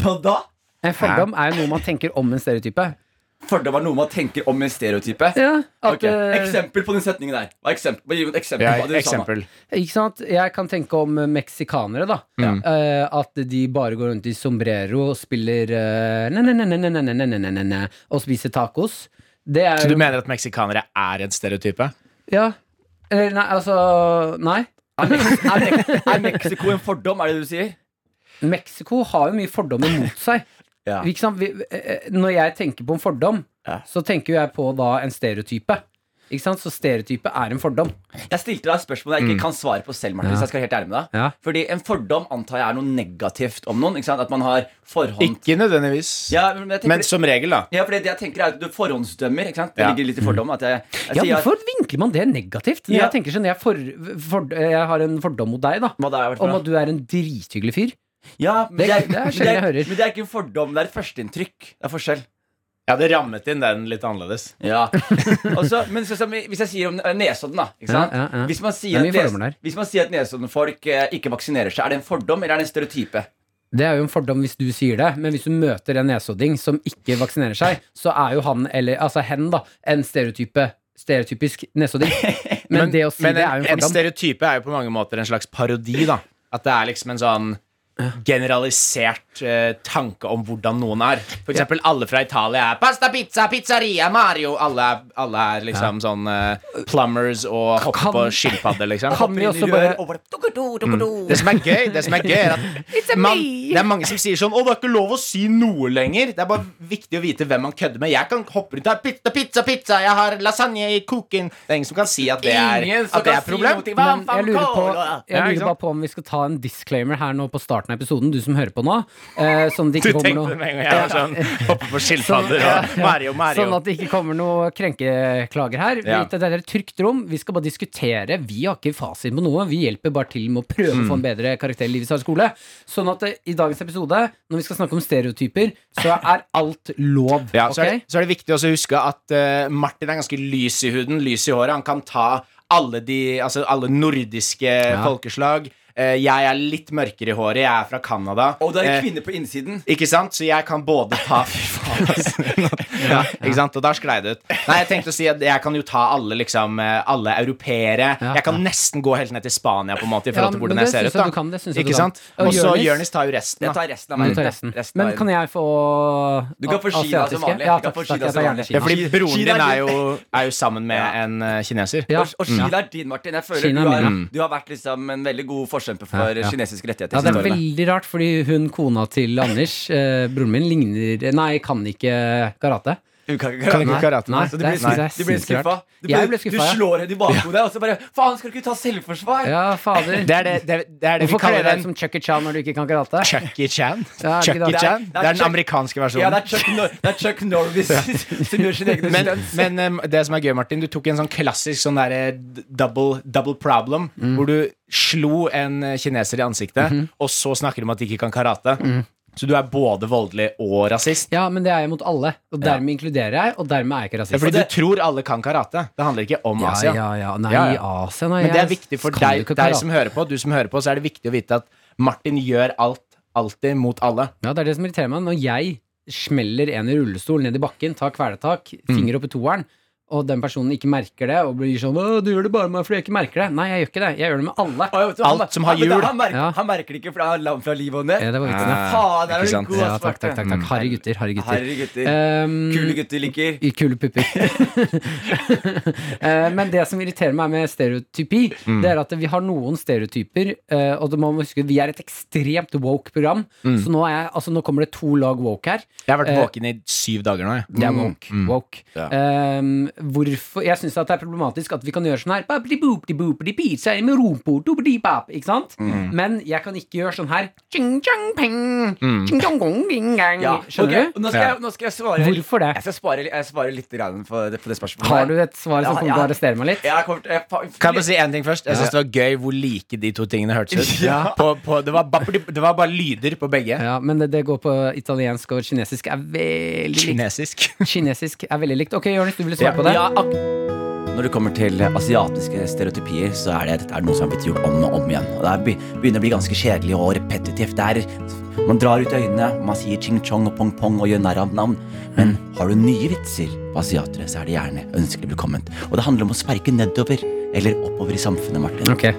[SPEAKER 5] Hva da?
[SPEAKER 3] En fordom er jo noe man tenker om en stereotype.
[SPEAKER 5] Fordom er noe man tenker om en stereotype.
[SPEAKER 3] Ja, at,
[SPEAKER 5] Ok,
[SPEAKER 3] eh,
[SPEAKER 5] Eksempel på den setningen der. Hva er eksempel? Bare Gi meg et eksempel.
[SPEAKER 4] Ja,
[SPEAKER 5] på det du sa nå.
[SPEAKER 4] eksempel.
[SPEAKER 3] Ikke sant? Jeg kan tenke om eh, meksikanere, da. Eh, at de bare går rundt i sombrero og spiller eh, ne, ne, ne, ne, ne, ne, ne, ne, ne, ne, ne, og spiser tacos. Det er
[SPEAKER 4] Så du
[SPEAKER 3] jo
[SPEAKER 4] mener at meksikanere er en stereotype?
[SPEAKER 3] Ja. Eller nei, altså Nei.
[SPEAKER 5] Er, Mex- [LAUGHS] er, Mex- er Mexico en fordom, er det det du sier?
[SPEAKER 3] Mexico har jo mye fordommer mot seg.
[SPEAKER 5] Ja.
[SPEAKER 3] Ikke sant? Vi, eh, når jeg tenker på en fordom,
[SPEAKER 5] Ja.
[SPEAKER 3] så tenker jo jeg på da en stereotype. Ikke sant? Så stereotype er en fordom.
[SPEAKER 5] Jeg stilte deg et spørsmål jeg ikke kan svare på selv, Martin. Hvis jeg skal være helt ærlig med deg
[SPEAKER 3] Mm. Ja.
[SPEAKER 5] Fordi en fordom antar jeg er noe negativt om noen. Ikke sant? At man har forhånd
[SPEAKER 4] Ikke nødvendigvis.
[SPEAKER 5] ja, men jeg tenker,
[SPEAKER 4] Men som regel, da.
[SPEAKER 5] ja, for det jeg tenker er at du forhåndsdømmer. Ikke sant? Det
[SPEAKER 4] Ja.
[SPEAKER 5] ligger litt i fordom. At jeg, Altså, jeg
[SPEAKER 3] Ja,
[SPEAKER 5] sier at-
[SPEAKER 3] hvorfor vinkler man det negativt? Når
[SPEAKER 5] Ja.
[SPEAKER 3] Jeg tenker sånn, jeg, er for, for, jeg har en fordom mot deg, da.
[SPEAKER 5] Hva det er, i hvert fall.
[SPEAKER 3] Om at du er en drithyggelig fyr.
[SPEAKER 5] Ja, men
[SPEAKER 3] Det-
[SPEAKER 5] det, er,
[SPEAKER 3] det er
[SPEAKER 5] men,
[SPEAKER 3] sjelden
[SPEAKER 5] det
[SPEAKER 3] jeg
[SPEAKER 5] er,
[SPEAKER 3] hører.
[SPEAKER 5] men det er ikke en fordom, det er et førsteinntrykk. Det er forskjell.
[SPEAKER 4] Jeg hadde rammet inn den litt annerledes.
[SPEAKER 5] [LAUGHS] Ja. Også, men så, som hvis jeg sier om eh, Nesodden, da. Ikke sant?
[SPEAKER 3] Ja, ja, ja.
[SPEAKER 5] Hvis, man
[SPEAKER 3] Det er
[SPEAKER 5] sier at
[SPEAKER 3] mye fordommer der.
[SPEAKER 5] nes, hvis man sier at Nesodden-folk eh, ikke vaksinerer seg, er det en fordom eller er det en stereotype?
[SPEAKER 3] Det er jo en fordom hvis du sier det, men hvis du møter en nesodding som ikke vaksinerer seg, så er jo han, eller altså hen, da, en stereotype, stereotypisk nesodding. Men, det å si
[SPEAKER 4] men
[SPEAKER 3] det er jo en fordom.
[SPEAKER 4] stereotype er jo på mange måter en slags parodi, da. At det er liksom en sånn generalisert eh, tanke om hvordan noen er. For eksempel alle fra Italia er pasta, pizza, pizzeria, Mario. Alle er, alle er liksom sånn eh, plumbers og hoppe
[SPEAKER 3] Kan-
[SPEAKER 4] på skilpadde, liksom.
[SPEAKER 3] Kan vi også bare
[SPEAKER 5] Over det. Tuku, tu, tuku, tu.
[SPEAKER 4] Det som er gøy, det som er gøy er at man, det er mange som sier sånn Å, det er ikke lov å si noe lenger. Det er bare viktig å vite hvem man kødder med. Jeg kan hoppe rundt her. Pizza, pizza, pizza. Jeg har lasagne i koken. Det er ingen som kan si at det er,
[SPEAKER 5] Ingen som
[SPEAKER 4] at det
[SPEAKER 5] kan
[SPEAKER 4] er
[SPEAKER 5] si
[SPEAKER 4] problem.
[SPEAKER 5] noe til-
[SPEAKER 3] Men
[SPEAKER 5] Hva
[SPEAKER 3] jeg
[SPEAKER 5] faen,
[SPEAKER 3] lurer, på,
[SPEAKER 5] Cola?
[SPEAKER 4] Ja,
[SPEAKER 3] jeg
[SPEAKER 4] ikke
[SPEAKER 3] lurer
[SPEAKER 4] sant?
[SPEAKER 3] bare på om vi skal ta en disclaimer her nå på starten av episoden, du som hører på nå. Eh, sånn at det
[SPEAKER 4] Du
[SPEAKER 3] ikke kommer
[SPEAKER 4] tenkte det
[SPEAKER 3] noe
[SPEAKER 4] med en gang jeg var sånn Hoppe på skilpadder og Mario, Mario.
[SPEAKER 3] Sånn at det ikke kommer noe krenkeklager her. Vi-
[SPEAKER 4] Ja.
[SPEAKER 3] Dette er et trygt rom. Vi skal bare diskutere. Vi har ikke fasit på noe. Vi hjelper bare til med å prøve å få
[SPEAKER 4] Mm.
[SPEAKER 3] en bedre karakter i livets harde skole. Sånn at eh, i dagens episode, når vi skal snakke om stereotyper, så er alt lov.
[SPEAKER 4] Ja, så, er
[SPEAKER 3] ok?
[SPEAKER 4] det, så er det viktig også å huske at eh, Martin er ganske lys i huden, lys i håret. Han kan ta alle, de, altså alle nordiske folkeslag. Eh, jeg er litt mørkere i håret. Jeg er fra Canada.
[SPEAKER 5] Og det er
[SPEAKER 4] Eh,
[SPEAKER 5] en kvinne på innsiden.
[SPEAKER 4] Ikke sant? Så jeg kan både
[SPEAKER 3] [LAUGHS]
[SPEAKER 4] ta Fy faen, ass. [LAUGHS] ja, Ikke sant? Og der sklei det ut. Nei, jeg tenkte å si at jeg kan jo ta alle, liksom, eh, alle europeere.
[SPEAKER 3] Ja,
[SPEAKER 4] Jeg kan nesten gå helt ned til Spania, på en måte, i forhold til
[SPEAKER 3] men
[SPEAKER 4] hvordan
[SPEAKER 3] det
[SPEAKER 4] jeg ser
[SPEAKER 3] synes
[SPEAKER 4] ut.
[SPEAKER 3] jeg
[SPEAKER 4] da
[SPEAKER 3] du kan, det synes jeg du
[SPEAKER 4] Ikke
[SPEAKER 3] kan.
[SPEAKER 4] sant?
[SPEAKER 3] Og
[SPEAKER 4] Og så
[SPEAKER 3] Jonis-
[SPEAKER 4] Jonis tar jo resten,
[SPEAKER 5] Jeg
[SPEAKER 4] da.
[SPEAKER 5] tar resten av meg.
[SPEAKER 3] Du tar resten.
[SPEAKER 5] Resten av
[SPEAKER 3] Men
[SPEAKER 5] verden.
[SPEAKER 3] kan jeg få
[SPEAKER 5] Du kan få Kina som
[SPEAKER 3] asiatiske?
[SPEAKER 5] vanlig.
[SPEAKER 3] Ja,
[SPEAKER 5] Du kan
[SPEAKER 3] takk,
[SPEAKER 5] få
[SPEAKER 3] takk,
[SPEAKER 5] Kina
[SPEAKER 3] jeg
[SPEAKER 5] som
[SPEAKER 3] tar gjerne
[SPEAKER 5] vanlig.
[SPEAKER 4] Ja,
[SPEAKER 3] Kina.
[SPEAKER 4] fordi broren
[SPEAKER 5] Kina er
[SPEAKER 4] din er
[SPEAKER 5] jo-
[SPEAKER 4] jo, er jo sammen med en eh, kineser.
[SPEAKER 3] Ja.
[SPEAKER 5] Og, og Kina er din, Martin. Jeg føler
[SPEAKER 3] Kina
[SPEAKER 5] du,
[SPEAKER 3] er
[SPEAKER 5] har,
[SPEAKER 3] min,
[SPEAKER 5] du har vært liksom en veldig god forkjemper for
[SPEAKER 3] Ja, ja.
[SPEAKER 5] kinesiske rettigheter.
[SPEAKER 3] Ja, det er
[SPEAKER 5] siste årene.
[SPEAKER 3] veldig rart, fordi hun kona til Anders, eh, broren min, ligner Nei, kan ikke karate.
[SPEAKER 5] Du kan ikke
[SPEAKER 4] Kan ikke karate,
[SPEAKER 3] Nei,
[SPEAKER 4] nei.
[SPEAKER 3] det
[SPEAKER 5] Så du
[SPEAKER 3] er-
[SPEAKER 5] blir,
[SPEAKER 3] synes jeg er
[SPEAKER 5] du blir
[SPEAKER 3] sinnssykt
[SPEAKER 5] skuffa.
[SPEAKER 3] rart.
[SPEAKER 5] Du,
[SPEAKER 3] Jeg ble
[SPEAKER 5] du
[SPEAKER 3] skuffa, ja.
[SPEAKER 5] slår henne i bakhodet, og så bare Faen, skal du ikke ta selvforsvar?
[SPEAKER 3] Ja, fader.
[SPEAKER 4] Det er det, det, det, er det vi
[SPEAKER 3] Hvorfor kler
[SPEAKER 4] kaller
[SPEAKER 3] du deg
[SPEAKER 4] den
[SPEAKER 3] som Chucky Chan når du ikke kan karate?
[SPEAKER 4] Chucky Chan.
[SPEAKER 3] Ja, ikke
[SPEAKER 4] Chucky
[SPEAKER 3] da.
[SPEAKER 4] Chan.
[SPEAKER 5] Det er- det er
[SPEAKER 4] Det er den
[SPEAKER 5] Chuck-
[SPEAKER 4] amerikanske
[SPEAKER 5] Ja,
[SPEAKER 4] versjonen.
[SPEAKER 5] det er Chuck, Nor det er Chuck Norris [LAUGHS] som gjør sin
[SPEAKER 3] [LAUGHS]
[SPEAKER 5] egen
[SPEAKER 4] Men,
[SPEAKER 5] stunts.
[SPEAKER 4] men em, det som er gøy, Martin, du tok en sånn klassisk sånn derre d- double, double problem,
[SPEAKER 3] Mm.
[SPEAKER 4] hvor du slo en eh, kineser i ansiktet,
[SPEAKER 3] Mhm.
[SPEAKER 4] og så snakker du om at de ikke kan karate.
[SPEAKER 3] Mm.
[SPEAKER 4] Så du er både voldelig og rasist.
[SPEAKER 3] Ja, men det er jeg mot alle, og dermed inkluderer jeg, og dermed er jeg ikke
[SPEAKER 4] Det er
[SPEAKER 3] rasist.
[SPEAKER 4] fordi du tror alle kan karate. Det handler ikke om
[SPEAKER 3] ja,
[SPEAKER 4] Asia.
[SPEAKER 3] ja, ja. Nei,
[SPEAKER 4] Ja, ja.
[SPEAKER 3] i Asia, nei.
[SPEAKER 4] Men det er
[SPEAKER 3] jeg
[SPEAKER 4] viktig for
[SPEAKER 3] kan
[SPEAKER 4] deg,
[SPEAKER 3] jo ikke
[SPEAKER 4] deg
[SPEAKER 3] karate.
[SPEAKER 4] som hører på, du som hører på, så er det viktig å vite at Martin gjør alt, alltid mot alle.
[SPEAKER 3] Ja, det er det som
[SPEAKER 5] Mm.
[SPEAKER 3] irriterer meg. Når jeg smeller en i rullestol ned i bakken, tar kvelertak, finger opp i toeren, og den personen ikke merker det og blir sånn «Å, 'Du gjør det bare med meg fordi jeg ikke merker det'. Nei, jeg gjør ikke det. Jeg gjør det med alle.
[SPEAKER 5] Å, vet du, han
[SPEAKER 4] Alt
[SPEAKER 5] bare-
[SPEAKER 4] som har
[SPEAKER 5] Ja, men da-
[SPEAKER 4] hjul.
[SPEAKER 5] Han, merker-
[SPEAKER 3] Ja.
[SPEAKER 5] han merker det ikke, for det er lam fra liv og ned.
[SPEAKER 3] Ja, det var vitsen, ja.
[SPEAKER 5] Faen, der
[SPEAKER 4] Ikke
[SPEAKER 5] er du
[SPEAKER 4] sant?
[SPEAKER 5] god,
[SPEAKER 3] Ja,
[SPEAKER 5] ass,
[SPEAKER 3] takk, takk,
[SPEAKER 5] Marte.
[SPEAKER 3] takk, takk. Harry gutter, harry gutter.
[SPEAKER 5] Herre gutter.
[SPEAKER 3] Ehm,
[SPEAKER 5] Kule gutter liker.
[SPEAKER 3] i Kule pupper. [LAUGHS] Eh, Men det som irriterer meg med stereotypi,
[SPEAKER 5] Mm.
[SPEAKER 3] det er at vi har noen stereotyper. eh, Og det må man huske, vi er et ekstremt woke program,
[SPEAKER 5] Mm.
[SPEAKER 3] så nå, er jeg, altså, nå kommer det to lag woke her.
[SPEAKER 4] Jeg har vært
[SPEAKER 3] Eh,
[SPEAKER 4] våken i syv dager nå, jeg.
[SPEAKER 3] Det
[SPEAKER 5] Mm.
[SPEAKER 3] er woke. woke.
[SPEAKER 4] Ja.
[SPEAKER 3] Ehm, hvorfor, jeg syns det er problematisk at vi kan gjøre sånn her «Babidi-bopidi-bopidi, så er det med rumport, obidi-bap», Ikke sant?
[SPEAKER 5] Mm.
[SPEAKER 3] Men jeg kan ikke gjøre sånn her «Tjing-tjang-ping, tjing-tjong-gong-ging-gang».
[SPEAKER 5] Mm. Ja,
[SPEAKER 3] Skjønner
[SPEAKER 5] Mm. ok,
[SPEAKER 3] du?
[SPEAKER 5] Nå skal, jeg, nå skal jeg svare.
[SPEAKER 3] Hvorfor det?
[SPEAKER 5] Jeg skal svare, jeg svarer litt grann på det, på det spørsmålet.
[SPEAKER 3] Har du et svar som
[SPEAKER 5] Ja,
[SPEAKER 3] kommer til
[SPEAKER 5] ja.
[SPEAKER 3] å arrestere meg litt?
[SPEAKER 5] Ja, jeg kommer til- jeg fa-
[SPEAKER 4] Kan jeg bare si en ting først? Jeg syns det var gøy hvor like de to tingene hørtes
[SPEAKER 3] [LAUGHS]
[SPEAKER 4] ut. På, på, det, var bare, det var bare lyder på begge.
[SPEAKER 3] Ja, men det, det går på italiensk og kinesisk er veldig likt.
[SPEAKER 4] Kinesisk.
[SPEAKER 3] Kinesisk er veldig likt. Ok, Jonis, du ville
[SPEAKER 5] Ja,
[SPEAKER 3] svare på det?
[SPEAKER 5] ja, ak- Når det kommer til asiatiske stereotypier, så er det, dette er noe som har blitt gjort om og om igjen. Og Det er, be- begynner å bli ganske kjedelig og repetitivt. Det er, man drar ut øynene, man sier ching-chong og pong-pong og gjør narr av navn. Men har du nye vitser på asiatere, så er det gjerne ønskelig velkomment. Og det handler om å sparke nedover eller oppover i samfunnet, Martin.
[SPEAKER 3] Ok,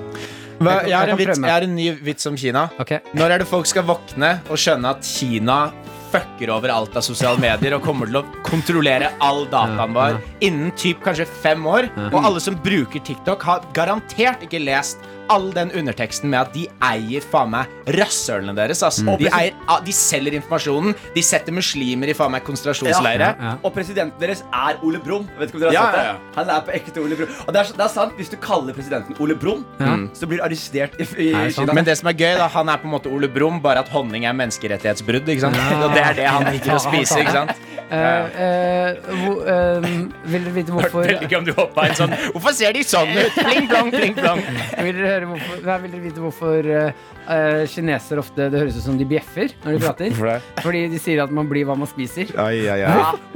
[SPEAKER 4] Hva, jeg,
[SPEAKER 3] [LAUGHS]
[SPEAKER 4] har
[SPEAKER 3] Jeg kan
[SPEAKER 4] en vits,
[SPEAKER 3] prøve.
[SPEAKER 4] jeg har en ny vits om Kina.
[SPEAKER 3] ok.
[SPEAKER 4] Når er det folk skal våkne og skjønne at Kina fucker over alt av sosiale medier og kommer til å kontrollere all dataen vår innen typ kanskje fem år? Og alle som bruker TikTok, har garantert ikke lest all den underteksten med at de eier faen meg rasshølene deres.
[SPEAKER 3] Mm.
[SPEAKER 4] ass. De, eier, ah, de selger informasjonen, de setter muslimer i faen meg konsentrasjonsleire.
[SPEAKER 3] Ja, ja.
[SPEAKER 5] Og presidenten deres er Ole Brumm. Jeg Vet ikke om dere har
[SPEAKER 4] Ja,
[SPEAKER 5] sett det?
[SPEAKER 4] ja, ja.
[SPEAKER 5] Han er på ekte Ole Brumm. Og det er, så- det er sant, hvis du kaller presidenten Ole Brumm,
[SPEAKER 3] Ja.
[SPEAKER 4] Mm.
[SPEAKER 5] så blir du arrestert i, i
[SPEAKER 3] Er det sant?
[SPEAKER 5] Kina.
[SPEAKER 4] Men det som er gøy, da, han er på en måte Ole Brumm, bare at honning er menneskerettighetsbrudd. ikke sant? Og det er det han liker å spise. ikke sant?
[SPEAKER 3] Eh, eh, hvor- eh, vil dere vite hvorfor
[SPEAKER 4] Veldig gøy om du hoppa inn sånn. Hvorfor ser de sånn ut? Pling plong, pling plong.
[SPEAKER 3] Vil dere, høre hvorfor, nei, vil dere vite hvorfor eh, eh, kinesere ofte Det høres ut som de bjeffer når de prater?
[SPEAKER 4] Hvorfor det?
[SPEAKER 3] Fordi de sier at man blir hva man spiser.
[SPEAKER 4] Ai, ai,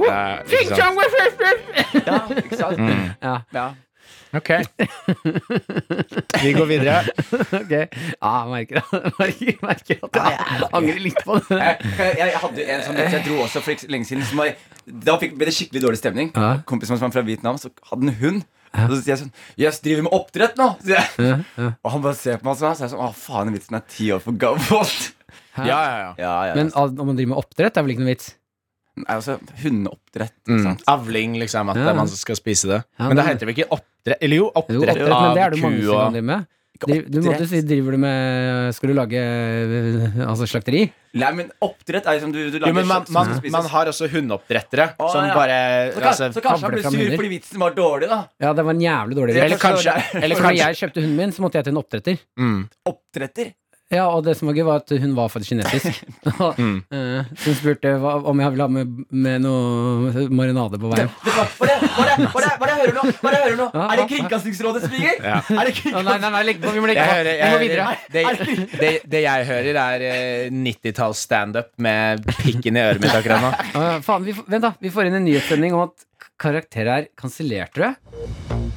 [SPEAKER 4] ai.
[SPEAKER 5] Ja, ikke sant?
[SPEAKER 3] Ja,
[SPEAKER 5] Ja.
[SPEAKER 4] Ok. [LAUGHS] Vi går videre.
[SPEAKER 3] ok Ja, jeg merker, merker, merker at jeg angrer litt på det.
[SPEAKER 5] Jeg, eh, jeg jeg hadde en sånn vits jeg dro også for ikke så lenge siden. Som var, da fikk, ble det skikkelig dårlig stemning.
[SPEAKER 3] Ja.
[SPEAKER 5] Kompisen min som var fra Vietnam, så hadde en hund. Og så sier jeg sånn Jeg driver med oppdrett nå! Sier jeg. Og han bare ser på meg sånn. Så er jeg sånn Å, faen, den vitsen er ti år for gammel.
[SPEAKER 4] Ja, ja, ja.
[SPEAKER 5] Ja, ja.
[SPEAKER 3] Men al- om man driver med oppdrett, er vel ikke noe vits?
[SPEAKER 5] Nei, altså, hundeoppdrett. ikke
[SPEAKER 4] Mm.
[SPEAKER 5] sant?
[SPEAKER 4] Avling, liksom. At det er man som skal spise det.
[SPEAKER 3] Ja,
[SPEAKER 4] Men det
[SPEAKER 3] men-
[SPEAKER 4] heter vel ikke oppdrett? Eller jo,
[SPEAKER 3] Jo,
[SPEAKER 4] oppdrett
[SPEAKER 3] oppdrett, men det er
[SPEAKER 4] av
[SPEAKER 3] det mange
[SPEAKER 4] ku
[SPEAKER 3] som kan
[SPEAKER 4] og
[SPEAKER 3] drive med.
[SPEAKER 5] Ikke
[SPEAKER 3] Driv- Du måtte si driver du med Skal du lage eh, altså slakteri?
[SPEAKER 5] Nei, men oppdrett er liksom du, du lager
[SPEAKER 4] jo, men man,
[SPEAKER 5] kjøtt som
[SPEAKER 4] man,
[SPEAKER 5] skal spises.
[SPEAKER 4] man har også hundeoppdrettere
[SPEAKER 5] Å,
[SPEAKER 4] som
[SPEAKER 5] ja.
[SPEAKER 4] bare
[SPEAKER 5] så, kan,
[SPEAKER 4] altså,
[SPEAKER 5] så kanskje han
[SPEAKER 3] fabler
[SPEAKER 5] ble
[SPEAKER 3] fram
[SPEAKER 5] sur
[SPEAKER 3] hunder.
[SPEAKER 5] fordi vitsen var dårlig, da.
[SPEAKER 3] Ja, det var en jævlig dårlig
[SPEAKER 5] Det-
[SPEAKER 3] idé.
[SPEAKER 4] Eller kanskje, eller
[SPEAKER 3] For når
[SPEAKER 4] kanskje
[SPEAKER 3] jeg kjøpte hunden min, så måtte jeg til en oppdretter.
[SPEAKER 4] mm.
[SPEAKER 5] Oppdretter?
[SPEAKER 3] Ja, og det som var gøy, var at hun var faktisk [LAUGHS] kinesisk. Og, eh, så hun spurte hva, om jeg ville ha med, med noe marinade på veien.
[SPEAKER 5] Hva hva er det hva er det- hva er det- hva er det jeg hører nå? Hva er det jeg hører nå?
[SPEAKER 3] Ja,
[SPEAKER 5] Er det
[SPEAKER 3] ja.
[SPEAKER 5] Kringkastingsrådet som ringer?
[SPEAKER 4] Ja.
[SPEAKER 5] Er det kringkast-
[SPEAKER 3] nei, nei, nei, legg på, vi må legge
[SPEAKER 4] Jeg
[SPEAKER 3] på.
[SPEAKER 4] hører,
[SPEAKER 3] vi må
[SPEAKER 4] jeg
[SPEAKER 3] videre.
[SPEAKER 4] hører, [LAUGHS] det, det, det jeg hører, er eh, 90-talls standup med pikken i øret mitt akkurat nå.
[SPEAKER 3] Å, faen, vi, får- vent, da. Vi får inn en nyhetssending om at karakterer er kansellert, tror jeg.
[SPEAKER 4] [LAUGHS]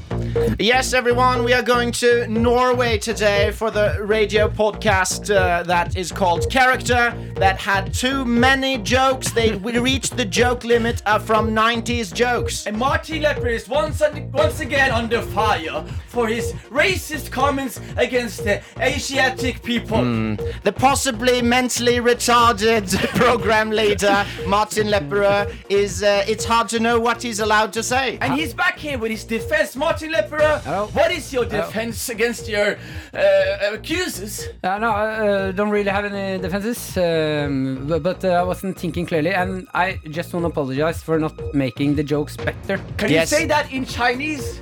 [SPEAKER 4] Yes, everyone, we are going to Norway today for the radio podcast uh, that is called Character, that had too many jokes. They we reached the joke limit uh, from 90s jokes.
[SPEAKER 5] And Marty Lepper is once, and, once again under fire for his racist comments against the Asiatic people.
[SPEAKER 4] The possibly mentally retarded [LAUGHS] program leader, Martin Lepperød, is, uh, it's hard to know what he's allowed to say.
[SPEAKER 5] And he's back here with his defense. Martin Lepper, what is your defense against your uh, accusers?
[SPEAKER 3] Uh, no, uh, don't really have any defenses, um, bu- but uh, I wasn't thinking clearly, and I just want to apologize for not making the jokes better.
[SPEAKER 5] Can
[SPEAKER 4] Yes.
[SPEAKER 5] you say that in Chinese?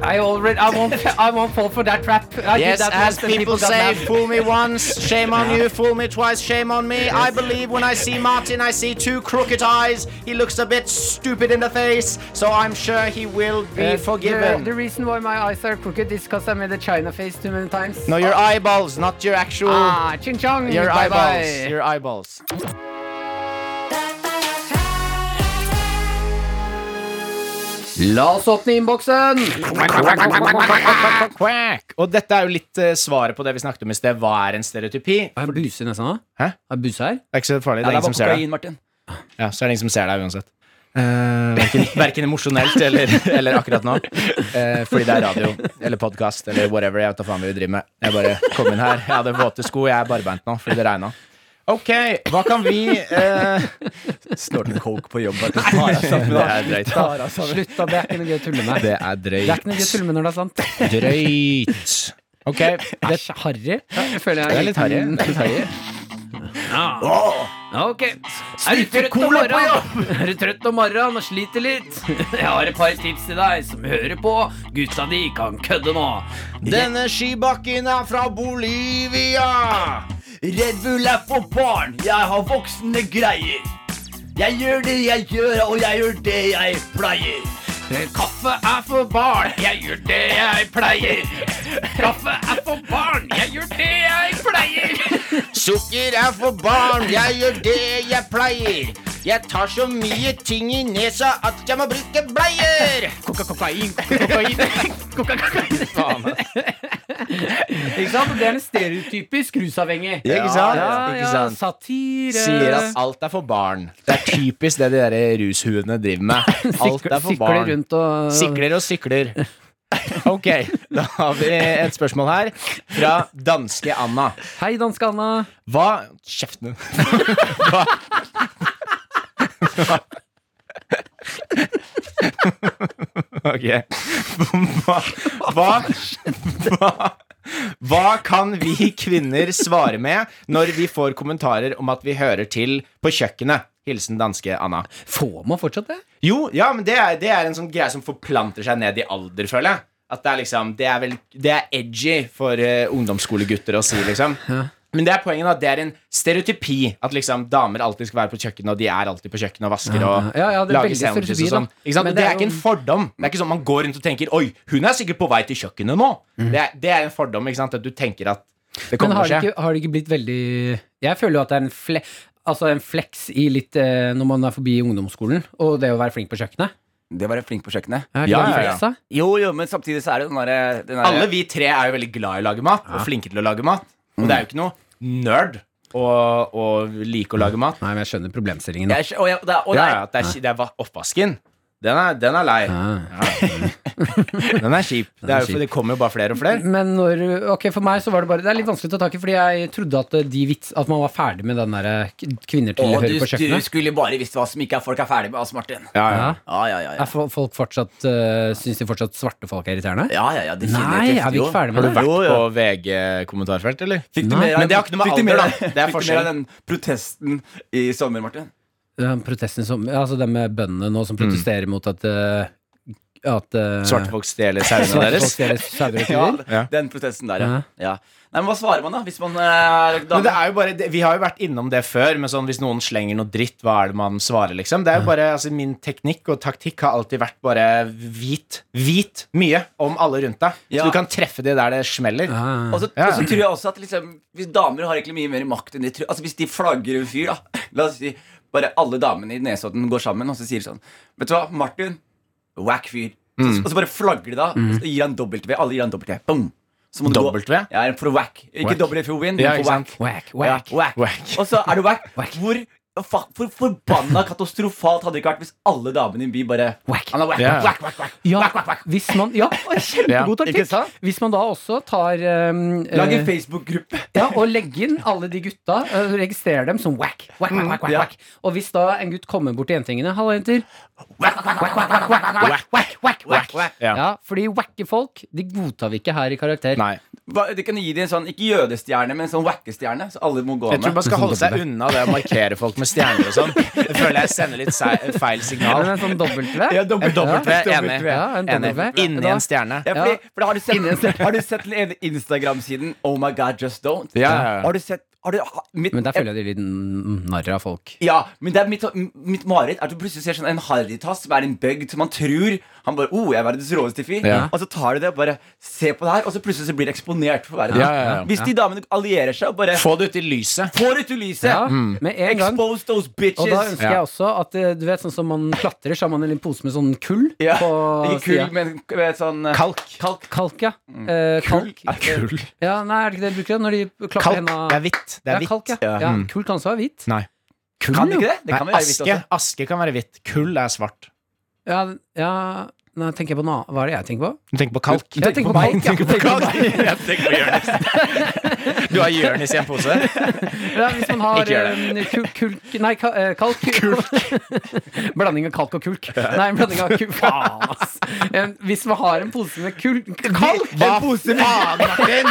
[SPEAKER 3] I already, I won't, I won't fall for that trap. I did
[SPEAKER 4] Yes,
[SPEAKER 3] that
[SPEAKER 4] as
[SPEAKER 3] once and
[SPEAKER 4] people
[SPEAKER 3] got
[SPEAKER 4] say,
[SPEAKER 3] mad.
[SPEAKER 4] fool me once, shame on you, fool me twice, shame on me. I believe when I see Martin, I see two crooked eyes. He looks a bit stupid in the face, so I'm sure he will be
[SPEAKER 3] Uh,
[SPEAKER 4] forgiven.
[SPEAKER 3] The, the reason why my eyes are crooked is because I made a China face too many times.
[SPEAKER 4] no, your eyeballs, not your actual.
[SPEAKER 3] Ah, ching chong.
[SPEAKER 4] your
[SPEAKER 3] bye
[SPEAKER 4] eyeballs.
[SPEAKER 3] bye.
[SPEAKER 4] Your eyeballs.
[SPEAKER 3] La oss åpne innboksen!
[SPEAKER 4] Quack. Og dette er jo litt eh, svaret på det vi snakket om i sted. Hva er en stereotypi? Det
[SPEAKER 3] Har jeg buse nesten nå?
[SPEAKER 4] Hæ?
[SPEAKER 3] Har jeg buse her?
[SPEAKER 4] er ikke så farlig. Det er ingen som ser deg.
[SPEAKER 5] Martin.
[SPEAKER 4] Ja, så er det ingen som ser deg uansett. [LAUGHS] Verken, verken Eh, emosjonelt eller, eller akkurat nå. Eh, fordi det er radio eller podkast eller whatever. Jeg vet da faen hva vi driver med. Jeg bare kom inn her. Jeg hadde våte sko. Jeg er barbeint nå fordi det regna. Ok, hva kan vi eh,
[SPEAKER 5] Snår den coke på jobb? bare til å ta deg sammen,
[SPEAKER 4] Det
[SPEAKER 5] da.
[SPEAKER 4] er drøyt.
[SPEAKER 3] Slutt, da. Det er ikke noe gøy å tulle med.
[SPEAKER 4] Det er
[SPEAKER 3] Det er
[SPEAKER 4] drøyt.
[SPEAKER 3] ikke noe gøy å tulle med når det er sant.
[SPEAKER 4] Drøyt. Ok.
[SPEAKER 3] Æsj, harry. Jeg føler jeg
[SPEAKER 4] Det er litt harry. Det er litt harry.
[SPEAKER 3] Ok. Er du trøtt om morgenen? [LAUGHS] Er du trøtt om morgenen og sliter litt? Jeg har et par tips til deg som hører på. Gutta di kan kødde nå.
[SPEAKER 7] Denne skibakken er fra Bolivia.
[SPEAKER 5] Red Bull er for barn, jeg har voksne greier. Jeg gjør det jeg gjør, og jeg gjør det jeg pleier.
[SPEAKER 4] Kaffe er for barn, jeg gjør det jeg pleier. Kaffe er for barn, jeg gjør det jeg pleier.
[SPEAKER 7] Sukker er for barn, jeg gjør det jeg pleier. Jeg tar så mye ting i nesa at jeg må bruke bleier.
[SPEAKER 4] Kokain, kokain, kokain. Faen, ass.
[SPEAKER 3] Ikke sant? Det er en stereotypisk rusavhengig.
[SPEAKER 4] Ja, ikke sant?
[SPEAKER 3] Ja,
[SPEAKER 4] Ikke
[SPEAKER 3] ja,
[SPEAKER 4] sant?
[SPEAKER 3] satire.
[SPEAKER 4] Sier at alt er for barn. Det er typisk det de der rushuene driver med. Alt er for
[SPEAKER 3] Sikler
[SPEAKER 4] barn.
[SPEAKER 3] rundt og
[SPEAKER 4] Sikler og sykler. Ok, da har vi et spørsmål her fra danske Anna.
[SPEAKER 3] Hei, danske Anna.
[SPEAKER 4] Hva Kjeften din. Hva Ok. Hva, hva, hva, hva kan vi kvinner svare med når vi får kommentarer om at vi hører til på kjøkkenet? Hilsen danske Anna.
[SPEAKER 3] Får man fortsatt det?
[SPEAKER 4] Jo, ja, men det er, det er en sånn greie som forplanter seg ned i alder, føler jeg. At det er liksom Det er, vel, det er edgy for eh, ungdomsskolegutter å si, liksom. Men det er poenget da, det er en stereotypi. At liksom damer alltid skal være på kjøkkenet, og de er alltid på kjøkkenet og vasker og
[SPEAKER 3] Ja, ja, det er
[SPEAKER 4] lager
[SPEAKER 3] veldig
[SPEAKER 4] sandwiches
[SPEAKER 3] stereotypi, da.
[SPEAKER 4] og sånn. Ikke sant?
[SPEAKER 3] Men
[SPEAKER 4] Det, det
[SPEAKER 3] det
[SPEAKER 4] er
[SPEAKER 3] er
[SPEAKER 4] ikke en fordom. Det er ikke sånn man går rundt og tenker Oi, hun er sikkert på vei til kjøkkenet nå. Det, er, det er en fordom, ikke sant. At du tenker at det
[SPEAKER 3] Mm. Men
[SPEAKER 4] kommer
[SPEAKER 3] har
[SPEAKER 4] til
[SPEAKER 3] det,
[SPEAKER 4] å skje.
[SPEAKER 3] ikke, har det ikke blitt veldig Jeg føler jo at det er en, fle, altså en flex i litt eh, når man er forbi ungdomsskolen, og det å være flink på kjøkkenet.
[SPEAKER 5] Det var jeg flink på kjøkkenet.
[SPEAKER 3] Er det
[SPEAKER 4] Ja,
[SPEAKER 3] en
[SPEAKER 4] ja, ja.
[SPEAKER 3] flex, da?
[SPEAKER 5] Jo, jo, men samtidig så er det den derre den derre-
[SPEAKER 4] Alle vi tre er jo veldig glad i å lage mat, og flinke til å lage mat. Og det er jo ikke noe nerd å å like å lage mat.
[SPEAKER 3] Nei, men jeg skjønner problemstillingen.
[SPEAKER 5] Jeg skj- og jeg- og det er- og det
[SPEAKER 4] ja,
[SPEAKER 5] er-
[SPEAKER 4] ja, at det er, ki- det er va- oppvasken. Den er, den er lei. [LAUGHS] Den er kjip. Det, er jo, for det kommer jo bare flere og flere.
[SPEAKER 3] Eh, Men når, ok, for meg så var det bare Det er litt vanskelig å ta tak i, fordi jeg trodde at, eh, de vits, at man var ferdig med den der k- kvinner til
[SPEAKER 5] Å,
[SPEAKER 3] høyre på
[SPEAKER 5] du, du
[SPEAKER 3] kjøkkenet.
[SPEAKER 5] skulle bare visst hva som ikke er folk er ferdig med, altså, Martin.
[SPEAKER 4] Ja, ja.
[SPEAKER 3] Ja.
[SPEAKER 5] Ja, ja, ja. ja.
[SPEAKER 3] Er fo- folk fortsatt, uh, syns de fortsatt svarte folk er irriterende?
[SPEAKER 5] Ja, ja, ja, definitivt.
[SPEAKER 3] Nei, er vi
[SPEAKER 5] jo.
[SPEAKER 3] ikke ferdig
[SPEAKER 4] Har
[SPEAKER 3] med
[SPEAKER 4] du
[SPEAKER 3] det?
[SPEAKER 4] vært
[SPEAKER 5] Jo, ja.
[SPEAKER 4] på VG-kommentarfelt, eller?
[SPEAKER 5] Fikk du
[SPEAKER 3] Nei,
[SPEAKER 5] mer av
[SPEAKER 4] men det har ikke noe med
[SPEAKER 5] fikk du mer
[SPEAKER 4] alder,
[SPEAKER 5] av-
[SPEAKER 4] da. Det er
[SPEAKER 5] Fikk du mer
[SPEAKER 4] forskjell.
[SPEAKER 5] av den protesten i sommer, Martin?
[SPEAKER 3] Den Eh, protesten som Altså det med bøndene nå som
[SPEAKER 4] Mm.
[SPEAKER 3] protesterer mot at eh, At eh,
[SPEAKER 4] Svarte folk stjeler sauene
[SPEAKER 3] svarte folk
[SPEAKER 4] deres.
[SPEAKER 3] stjeler sauer og
[SPEAKER 5] [LAUGHS] Ja,
[SPEAKER 3] kuer?
[SPEAKER 4] Ja.
[SPEAKER 5] den protesten der,
[SPEAKER 3] Ja.
[SPEAKER 5] ja. ja. Nei, men hva svarer man, da? Hvis man eh,
[SPEAKER 4] Men det
[SPEAKER 5] dame?
[SPEAKER 4] er jo bare, det- vi har jo vært innom det før, men sånn, hvis noen slenger noe dritt, hva er det man svarer, liksom? Det er jo bare, altså, Min teknikk og taktikk har alltid vært bare hvit, hvit mye om alle rundt deg.
[SPEAKER 5] Ja.
[SPEAKER 4] Så du kan treffe de der det smeller.
[SPEAKER 3] Ah.
[SPEAKER 5] Og så,
[SPEAKER 4] Ja.
[SPEAKER 5] og så tror jeg også at liksom, hvis damer har egentlig mye mer makt enn de tror Altså Hvis de flagger en fyr, da [LAUGHS] La oss si bare alle damene i Nesodden går sammen og så sier de sånn Vet du hva, Martin, whack fyr. Så,
[SPEAKER 4] Mm.
[SPEAKER 5] og så bare flagger de da, og så gir han dobbelt-V. Alle gir han dobbelt-V. Boom! Så må du
[SPEAKER 4] Dobbelt V?
[SPEAKER 5] gå. Ja, for whack. Ikke
[SPEAKER 4] Whack.
[SPEAKER 5] dobbelt-V for win,
[SPEAKER 4] Ja,
[SPEAKER 5] men
[SPEAKER 4] ikke
[SPEAKER 5] for
[SPEAKER 4] sant.
[SPEAKER 5] whack.
[SPEAKER 3] Whack,
[SPEAKER 5] Ja,
[SPEAKER 3] whack.
[SPEAKER 5] whack.
[SPEAKER 4] Whack.
[SPEAKER 5] Og så er du whack.
[SPEAKER 3] Whack.
[SPEAKER 5] Hvor fa, for forbanna katastrofalt hadde det ikke vært hvis alle damene i en by bare
[SPEAKER 3] Whack.
[SPEAKER 5] Han er whack,
[SPEAKER 4] Ja.
[SPEAKER 5] whack, whack, whack, whack.
[SPEAKER 3] Ja,
[SPEAKER 5] whack, whack, whack.
[SPEAKER 3] hvis man Ja, [LAUGHS] kjempegod
[SPEAKER 4] Ja, ikke
[SPEAKER 3] taktikk! Hvis man da også tar um,
[SPEAKER 5] Lag
[SPEAKER 4] Eh.
[SPEAKER 5] en Facebook-gruppe.
[SPEAKER 3] Ja, og legge inn alle de gutta. eh, Registrere dem som whack. whack, whack, whack, whack,
[SPEAKER 5] Ja.
[SPEAKER 3] whack. Og hvis da en gutt kommer bort til jentingene Hallo, jenter.
[SPEAKER 4] Ja.
[SPEAKER 3] Ja, fordi wacke folk, de godtar vi ikke her i karakter.
[SPEAKER 4] Nei.
[SPEAKER 5] Hva- Det kan gi dem en sånn, ikke jødestjerne, men en sånn wackestjerne. Så alle må gå
[SPEAKER 4] Jeg tror
[SPEAKER 5] med.
[SPEAKER 4] man skal holde seg unna det å markere folk med stjerner og sånn. Jeg føler jeg sender litt sei- feil
[SPEAKER 3] Men
[SPEAKER 4] signal.
[SPEAKER 3] en sånn dobbelt-V?
[SPEAKER 4] Ja, dobbelt, dobbelt,
[SPEAKER 3] Ja,
[SPEAKER 4] V, enig.
[SPEAKER 3] Ja, en
[SPEAKER 4] enig.
[SPEAKER 3] dobbelt V.
[SPEAKER 4] Inni en stjerne.
[SPEAKER 5] Ja, fordi, for har, du sett, har du sett den ene Instagram-siden Oh my God, just don't?
[SPEAKER 4] Ja, ja, ja.
[SPEAKER 5] Har du sett har du, ha- mitt,
[SPEAKER 3] Men der føler jeg de er litt n- narr av folk.
[SPEAKER 5] Ja, men det er mitt, mitt mareritt er at du plutselig ser sånn en harrytass som er en bøgd som man tror Han bare oh, jeg er verdens råeste fyr.
[SPEAKER 4] Ja.
[SPEAKER 5] Og så tar de det og bare Se på det her, og så plutselig så blir det eksponert for verden.
[SPEAKER 4] Ja, ja, ja.
[SPEAKER 5] Hvis de damene allierer seg og bare
[SPEAKER 4] Få det ut i lyset.
[SPEAKER 5] Få det ut i lyset!
[SPEAKER 3] Ja, med en gang.
[SPEAKER 5] Expose those bitches!
[SPEAKER 3] Og da ønsker
[SPEAKER 4] Ja.
[SPEAKER 3] jeg også at eh, du vet sånn som man klatrer, så har man en liten pose med sånn kull
[SPEAKER 5] Ja,
[SPEAKER 3] på
[SPEAKER 5] Ikke kull,
[SPEAKER 3] sida.
[SPEAKER 5] men med sånn eh,
[SPEAKER 4] Kalk.
[SPEAKER 5] kalk.
[SPEAKER 3] Kalk, ja. Eh, kalk.
[SPEAKER 4] Kull.
[SPEAKER 3] Ja, nei, er det ikke det de bruker? Når de klapper
[SPEAKER 4] Kalk.
[SPEAKER 3] henda
[SPEAKER 4] Det er hvitt. Mm. Det
[SPEAKER 3] Ja,
[SPEAKER 4] er
[SPEAKER 3] kalk,
[SPEAKER 4] hvitt.
[SPEAKER 3] ja. ja. Kull kan også være hvitt.
[SPEAKER 4] Nei.
[SPEAKER 5] Kan det ikke det? Det kan
[SPEAKER 4] Nei,
[SPEAKER 5] vel være hvitt
[SPEAKER 4] aske,
[SPEAKER 5] også.
[SPEAKER 4] aske kan være hvitt. Kull er svart.
[SPEAKER 3] Ja, ja Nå tenker jeg på noe annet. Hva er det jeg tenker på?
[SPEAKER 4] Du tenker på kalk?
[SPEAKER 3] Jeg tenker på kalk. Ja.
[SPEAKER 4] [LAUGHS] Jeg
[SPEAKER 5] [LAUGHS]
[SPEAKER 4] tenker på Jonis. Du har Jonis i en pose?
[SPEAKER 3] Ja, hvis man har
[SPEAKER 4] [LAUGHS] Ikke gjør
[SPEAKER 3] eh, kul- kulk Nei, ka- eh,
[SPEAKER 4] [LAUGHS]
[SPEAKER 3] kalk. [LAUGHS] blanding av kalk og kulk. Nei, blanding av
[SPEAKER 4] [LAUGHS]
[SPEAKER 3] kulk. Faen, ass. Eh, Hvis man har [LAUGHS] en pose med kulk Kalk!
[SPEAKER 4] Hva faen, Martin?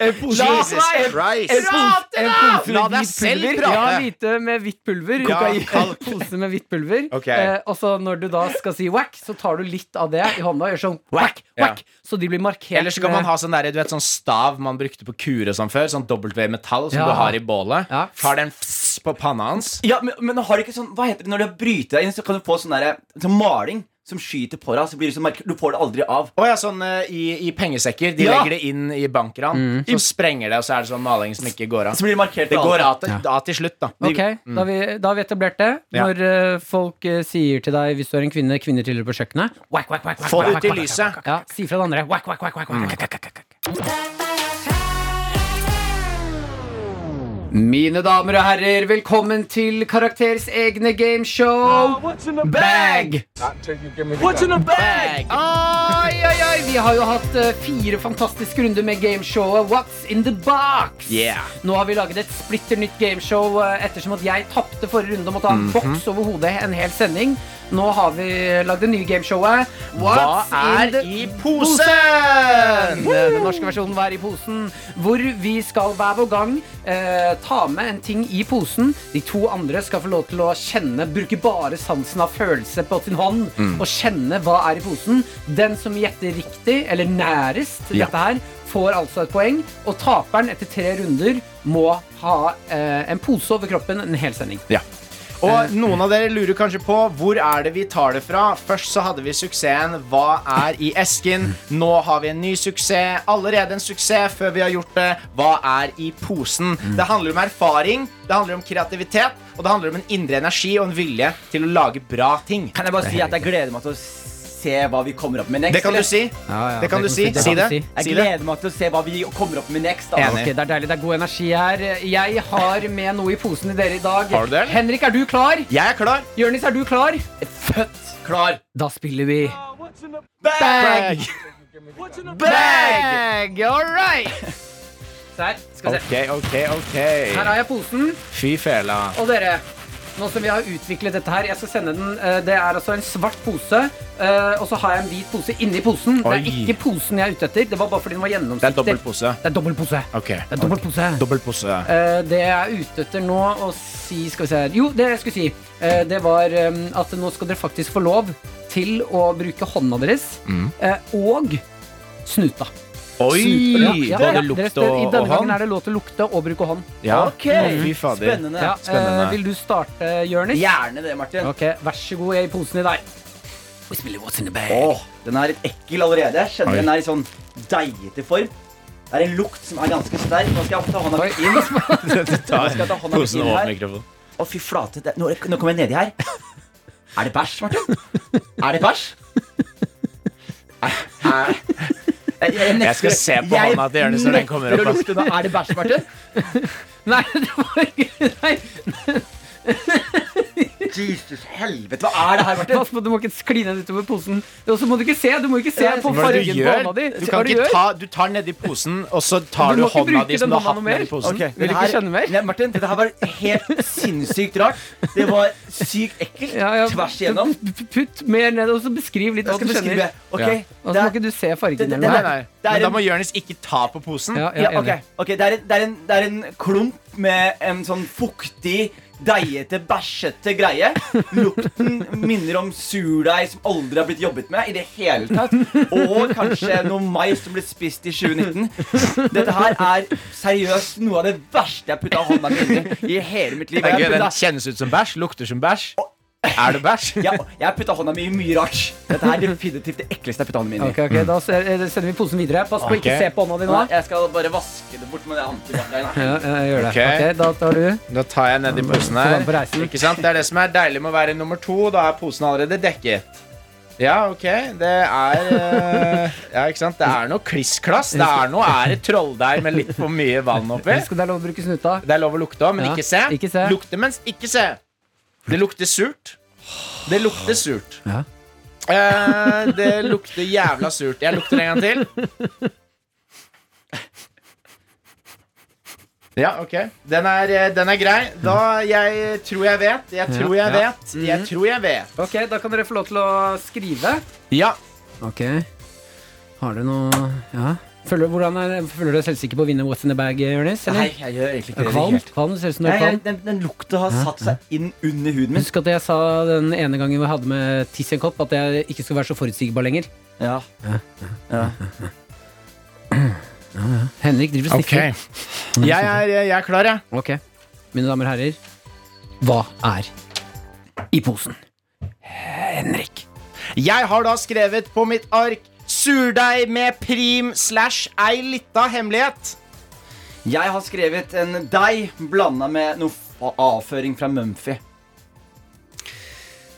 [SPEAKER 4] Jesus
[SPEAKER 7] Christ!
[SPEAKER 3] Pose- en pose
[SPEAKER 4] La
[SPEAKER 3] med
[SPEAKER 4] deg
[SPEAKER 3] hvit
[SPEAKER 4] selv
[SPEAKER 3] pulver.
[SPEAKER 4] prate.
[SPEAKER 3] Ja, hvite med hvitt pulver.
[SPEAKER 4] Ja,
[SPEAKER 3] Kokain. en pose med hvitt pulver.
[SPEAKER 4] Ok.
[SPEAKER 3] Eh, og så når du da skal si whack, så tar du litt av det i hånda og gjør sånn whack,
[SPEAKER 4] Ja.
[SPEAKER 3] whack. Så de blir markert.
[SPEAKER 4] Eller så kan man
[SPEAKER 3] med-
[SPEAKER 4] ha sånn der, du vet, sånn stav man brukte på kur og sånn før. Sånn W-metall som
[SPEAKER 3] Ja.
[SPEAKER 4] du har i bålet.
[SPEAKER 3] Ja.
[SPEAKER 4] Tar den fss på panna hans.
[SPEAKER 5] Ja, men, men har du ikke sånn Hva heter det når du bryter deg inn, så kan du få sånn derre sånn maling som skyter på deg, så blir det sånn merke Du får det aldri av.
[SPEAKER 4] Å ja, sånn eh, i, i pengesekker. De
[SPEAKER 5] Ja.
[SPEAKER 4] legger det inn i bankran.
[SPEAKER 3] Mm.
[SPEAKER 4] Så sprenger det, og så er det sånn maling som ikke går av.
[SPEAKER 5] Så blir det markert
[SPEAKER 4] Det
[SPEAKER 5] for
[SPEAKER 4] går
[SPEAKER 5] alltid.
[SPEAKER 4] av til, av til slutt, da.
[SPEAKER 3] Ok, da, har vi, mm. da har vi etablert det.
[SPEAKER 4] Ja.
[SPEAKER 3] Når eh, folk eh, sier til deg hvis du er en kvinne, kvinner tilhører på kjøkkenet whack, whack, whack, whack,
[SPEAKER 4] Få det
[SPEAKER 3] whack,
[SPEAKER 4] ut i
[SPEAKER 3] whack,
[SPEAKER 4] lyset.
[SPEAKER 3] whack. Ja, si fra det andre. Whack, whack, whack, whack, whack. Mine damer og herrer, velkommen til Karakters egne gameshow. Bag! Oi, oi, oi! Vi har jo hatt eh, fire fantastiske runder med gameshowet What's in the box?
[SPEAKER 4] Yeah.
[SPEAKER 3] Nå har vi laget et splitter nytt gameshow eh, ettersom at jeg tapte forrige runde om å ta
[SPEAKER 4] Mhm.
[SPEAKER 3] en boks over hodet en hel sending. Nå har vi lagd det nye gameshowet
[SPEAKER 4] Hva er
[SPEAKER 3] the
[SPEAKER 4] i posen?
[SPEAKER 3] Eh, den norske versjonen Hva er i posen? Hvor vi skal hver vår gang eh, ta med en ting i posen. De to andre skal få lov til å kjenne, bruke bare sansen av følelse på sin hånd,
[SPEAKER 4] Mm.
[SPEAKER 3] og kjenne hva er i posen. Den som gjetter riktig, eller nærest
[SPEAKER 5] Ja.
[SPEAKER 3] dette her, får altså et poeng. Og taperen etter tre runder må ha eh, en pose over kroppen en hel sending.
[SPEAKER 5] Ja.
[SPEAKER 4] Og noen av dere lurer kanskje på hvor er det vi tar det fra. Først så hadde vi suksessen Hva er i esken? Nå har vi en ny suksess. Allerede en suksess før vi har gjort det. Hva er i posen? Det handler om erfaring, det handler om kreativitet, og det handler om en indre energi og en vilje til å lage bra ting.
[SPEAKER 5] Kan jeg bare si at jeg gleder meg til å se hva vi kommer opp med next?
[SPEAKER 4] Det kan du
[SPEAKER 5] eller?
[SPEAKER 4] si. Det kan du si.
[SPEAKER 3] det
[SPEAKER 4] Si
[SPEAKER 3] kan du
[SPEAKER 4] det.
[SPEAKER 3] si.
[SPEAKER 5] Jeg
[SPEAKER 4] Si det.
[SPEAKER 5] gleder meg til å se hva vi kommer opp med next.
[SPEAKER 3] Ja, ok, det er deilig, det er god energi her. Jeg har med noe i posen til dere i dag.
[SPEAKER 4] Har du det, eller?
[SPEAKER 3] Henrik, er du klar?
[SPEAKER 4] Jeg er klar.
[SPEAKER 3] Jørnis, er du klar?
[SPEAKER 5] Født klar.
[SPEAKER 3] Da spiller vi
[SPEAKER 5] Bag!
[SPEAKER 3] Bag! All right! Der, skal vi se.
[SPEAKER 4] OK, OK, OK.
[SPEAKER 3] Her har jeg posen.
[SPEAKER 4] Fy fela.
[SPEAKER 3] Og dere, nå som vi har utviklet dette her, jeg skal sende den eh, Det er altså en svart pose, eh, og så har jeg en hvit pose inni posen. Det er
[SPEAKER 4] Oi.
[SPEAKER 3] ikke posen jeg er ute etter, det var bare fordi den var
[SPEAKER 4] Det er
[SPEAKER 3] gjennomsiktig.
[SPEAKER 4] dobbel pose.
[SPEAKER 3] Det er dobbel pose.
[SPEAKER 4] OK.
[SPEAKER 3] Det er dobbel pose.
[SPEAKER 4] Dobbel pose.
[SPEAKER 3] Eh, det jeg er ute etter nå å si Skal vi se her Jo, det jeg skulle si, eh, det var eh, at nå skal dere faktisk få lov til å bruke hånda deres eh, og snuta.
[SPEAKER 4] Mm. Oi!
[SPEAKER 3] Ja, ja, ja,
[SPEAKER 4] Både
[SPEAKER 3] ja.
[SPEAKER 4] lukt
[SPEAKER 3] Dere- I
[SPEAKER 4] og
[SPEAKER 3] denne
[SPEAKER 4] og
[SPEAKER 3] gangen
[SPEAKER 4] hånd.
[SPEAKER 3] er det lov til å lukte og bruke hånd.
[SPEAKER 4] Ja.
[SPEAKER 5] Ok.
[SPEAKER 4] Fy fader.
[SPEAKER 5] Spennende.
[SPEAKER 3] Ja,
[SPEAKER 4] Spennende.
[SPEAKER 3] eh,
[SPEAKER 4] [LAUGHS]
[SPEAKER 3] vil du starte, Jørnis?
[SPEAKER 5] Gjerne det, Martin.
[SPEAKER 3] Ok, Vær så god, jeg gir posen i deg. Vi spiller What's in the bag.
[SPEAKER 5] Åh, den er litt ekkel allerede. Jeg kjenner
[SPEAKER 4] Oi.
[SPEAKER 5] den er i sånn deigete form. Det er en lukt som er ganske sterk. Nå skal jeg ta hånda
[SPEAKER 3] Oi.
[SPEAKER 5] mitt inn.
[SPEAKER 4] [LAUGHS] Du tar
[SPEAKER 5] Skal jeg ta hånda mi
[SPEAKER 4] posen
[SPEAKER 5] inn
[SPEAKER 4] og
[SPEAKER 5] her?
[SPEAKER 4] åpner mikrofonen.
[SPEAKER 5] Å, fy flate. Det, nå, nå kommer jeg nedi her. Er det bæsj, Martin? Er det bæsj? Er, er, jeg, jeg, nekter-
[SPEAKER 4] Jeg skal se på
[SPEAKER 5] jeg
[SPEAKER 4] hånda til Jonis når den kommer
[SPEAKER 5] nekter å
[SPEAKER 4] opp, ass.
[SPEAKER 5] lukte nå. Er det bæsj, Martin?
[SPEAKER 3] Nei, [LAUGHS] det var ikke Nei,
[SPEAKER 5] Jesus helvete, hva er det her, Martin?
[SPEAKER 3] pass på, du må ikke skli ned utover posen. Og så må du ikke se. Du må ikke se på
[SPEAKER 4] Hva er det
[SPEAKER 3] fargen
[SPEAKER 4] du
[SPEAKER 3] på
[SPEAKER 4] gjør?
[SPEAKER 3] hånda di.
[SPEAKER 4] Du
[SPEAKER 3] Hva
[SPEAKER 4] kan
[SPEAKER 3] du
[SPEAKER 4] ikke
[SPEAKER 3] gjør?
[SPEAKER 4] ta Du tar nedi posen, og så tar
[SPEAKER 3] Du
[SPEAKER 4] du
[SPEAKER 3] må ikke
[SPEAKER 4] hånda di
[SPEAKER 3] bruke
[SPEAKER 4] som
[SPEAKER 3] den
[SPEAKER 4] du har
[SPEAKER 3] hånda
[SPEAKER 4] hatt
[SPEAKER 3] noe mer.
[SPEAKER 4] nedi posen.
[SPEAKER 5] Ok,
[SPEAKER 3] Vil
[SPEAKER 5] det
[SPEAKER 3] ikke
[SPEAKER 5] her-
[SPEAKER 3] skjønne mer?
[SPEAKER 5] Nei, Martin, dette her var helt sinnssykt rart. Det var sykt ekkelt
[SPEAKER 3] Ja, ja,
[SPEAKER 5] tvers igjennom.
[SPEAKER 3] p- p- Putt mer ned, og så beskriv litt
[SPEAKER 5] Jeg
[SPEAKER 3] hva du
[SPEAKER 5] skal beskrive.
[SPEAKER 3] kjenner.
[SPEAKER 5] Ok,
[SPEAKER 4] Ja. Altså,
[SPEAKER 3] Og så
[SPEAKER 5] det
[SPEAKER 3] må
[SPEAKER 5] er-
[SPEAKER 3] ikke du se
[SPEAKER 5] det-
[SPEAKER 3] fargen
[SPEAKER 5] det-
[SPEAKER 3] eller
[SPEAKER 4] Nei,
[SPEAKER 3] noe.
[SPEAKER 5] det-
[SPEAKER 4] nei.
[SPEAKER 5] er
[SPEAKER 4] Men da
[SPEAKER 5] en-
[SPEAKER 4] må Jonis ikke ta på posen.
[SPEAKER 3] Ja,
[SPEAKER 5] Ja,
[SPEAKER 3] jeg er
[SPEAKER 5] ok,
[SPEAKER 3] enig.
[SPEAKER 5] ok, det, er en, det, er en, det er en klump med en sånn fuktig, deigete, bæsjete greie. Lukten minner om surdeig som aldri har blitt jobbet med i det hele tatt. Og kanskje noe mais som ble spist i 2019. Dette her er seriøst noe av det verste jeg har putta hånda mi inn i i hele mitt liv.
[SPEAKER 4] Det er gøy,
[SPEAKER 5] Jeg
[SPEAKER 4] den
[SPEAKER 5] har
[SPEAKER 4] kjennes ut som bæsj, lukter som bæsj. Er
[SPEAKER 3] [LAUGHS]
[SPEAKER 4] det bæsj?
[SPEAKER 5] puttet- jeg- jeg har putta hånda mi i mye rart. Dette her er definitivt det ekleste jeg har putta hånda mi inn i.
[SPEAKER 3] Ok, ok, Da se- eh, sender vi posen videre. Pass på, ikke
[SPEAKER 4] Ok.
[SPEAKER 3] se på hånda di nå.
[SPEAKER 5] Nei, Jeg skal bare vaske det bort med det antibac-greiene.
[SPEAKER 3] Ja, ja, gjør det.
[SPEAKER 4] Ok.
[SPEAKER 3] Ok, Da tar du.
[SPEAKER 4] Da tar jeg nedi
[SPEAKER 3] Så
[SPEAKER 4] posen
[SPEAKER 3] da på
[SPEAKER 4] her.
[SPEAKER 3] reisen.
[SPEAKER 4] Ikke sant? Det er det som er deilig med å være nummer to. Da er posen allerede dekket. Ja, ok. Det er eh, Ja, ikke sant. Det er noe kliss-klass. Det er noe er et trolldeig med litt for mye vann oppi.
[SPEAKER 3] Husk at det er lov å bruke snuta.
[SPEAKER 4] Det er lov å lukte òg, men
[SPEAKER 3] Ja,
[SPEAKER 4] ikke, se.
[SPEAKER 3] ikke se.
[SPEAKER 4] Lukte, men ikke se. Det lukter surt. Det lukter surt.
[SPEAKER 3] Ja.
[SPEAKER 4] Eh, det lukter jævla surt. Jeg lukter en gang til. Ja, ok. Den er, eh, den er grei. Da Jeg tror jeg vet. Jeg tror jeg
[SPEAKER 3] ja. Mhm.
[SPEAKER 4] vet. Jeg tror jeg vet.
[SPEAKER 3] Ok, da kan dere få lov til å skrive.
[SPEAKER 4] Ja.
[SPEAKER 3] Ok. Har du noe Ja. Føler, hvordan er, føler du deg selvsikker på å vinne What's in the bag, Jonis?
[SPEAKER 5] Nei,
[SPEAKER 3] eller?
[SPEAKER 5] jeg gjør egentlig ikke det.
[SPEAKER 3] Kvalm?
[SPEAKER 5] helt.
[SPEAKER 3] Kvalm? Du ser ut som du
[SPEAKER 5] Nei,
[SPEAKER 3] er
[SPEAKER 5] jeg,
[SPEAKER 3] kvalm.
[SPEAKER 5] den, den lukta har satt seg inn under huden min.
[SPEAKER 3] Husk at jeg sa den ene gangen vi hadde med tiss i en kopp, at jeg ikke skulle være så forutsigbar lenger.
[SPEAKER 5] Ja. Ja.
[SPEAKER 3] Henrik driver og sniffer.
[SPEAKER 4] Jeg er, eh, jeg er klar, jeg.
[SPEAKER 3] Ok, mine damer og herrer Hva er i posen? Henrik
[SPEAKER 4] Jeg har da skrevet på mitt ark Surdeig med prim slash ei lita hemmelighet.
[SPEAKER 5] Jeg har skrevet en deig blanda med noe f- avføring fra Mumphy.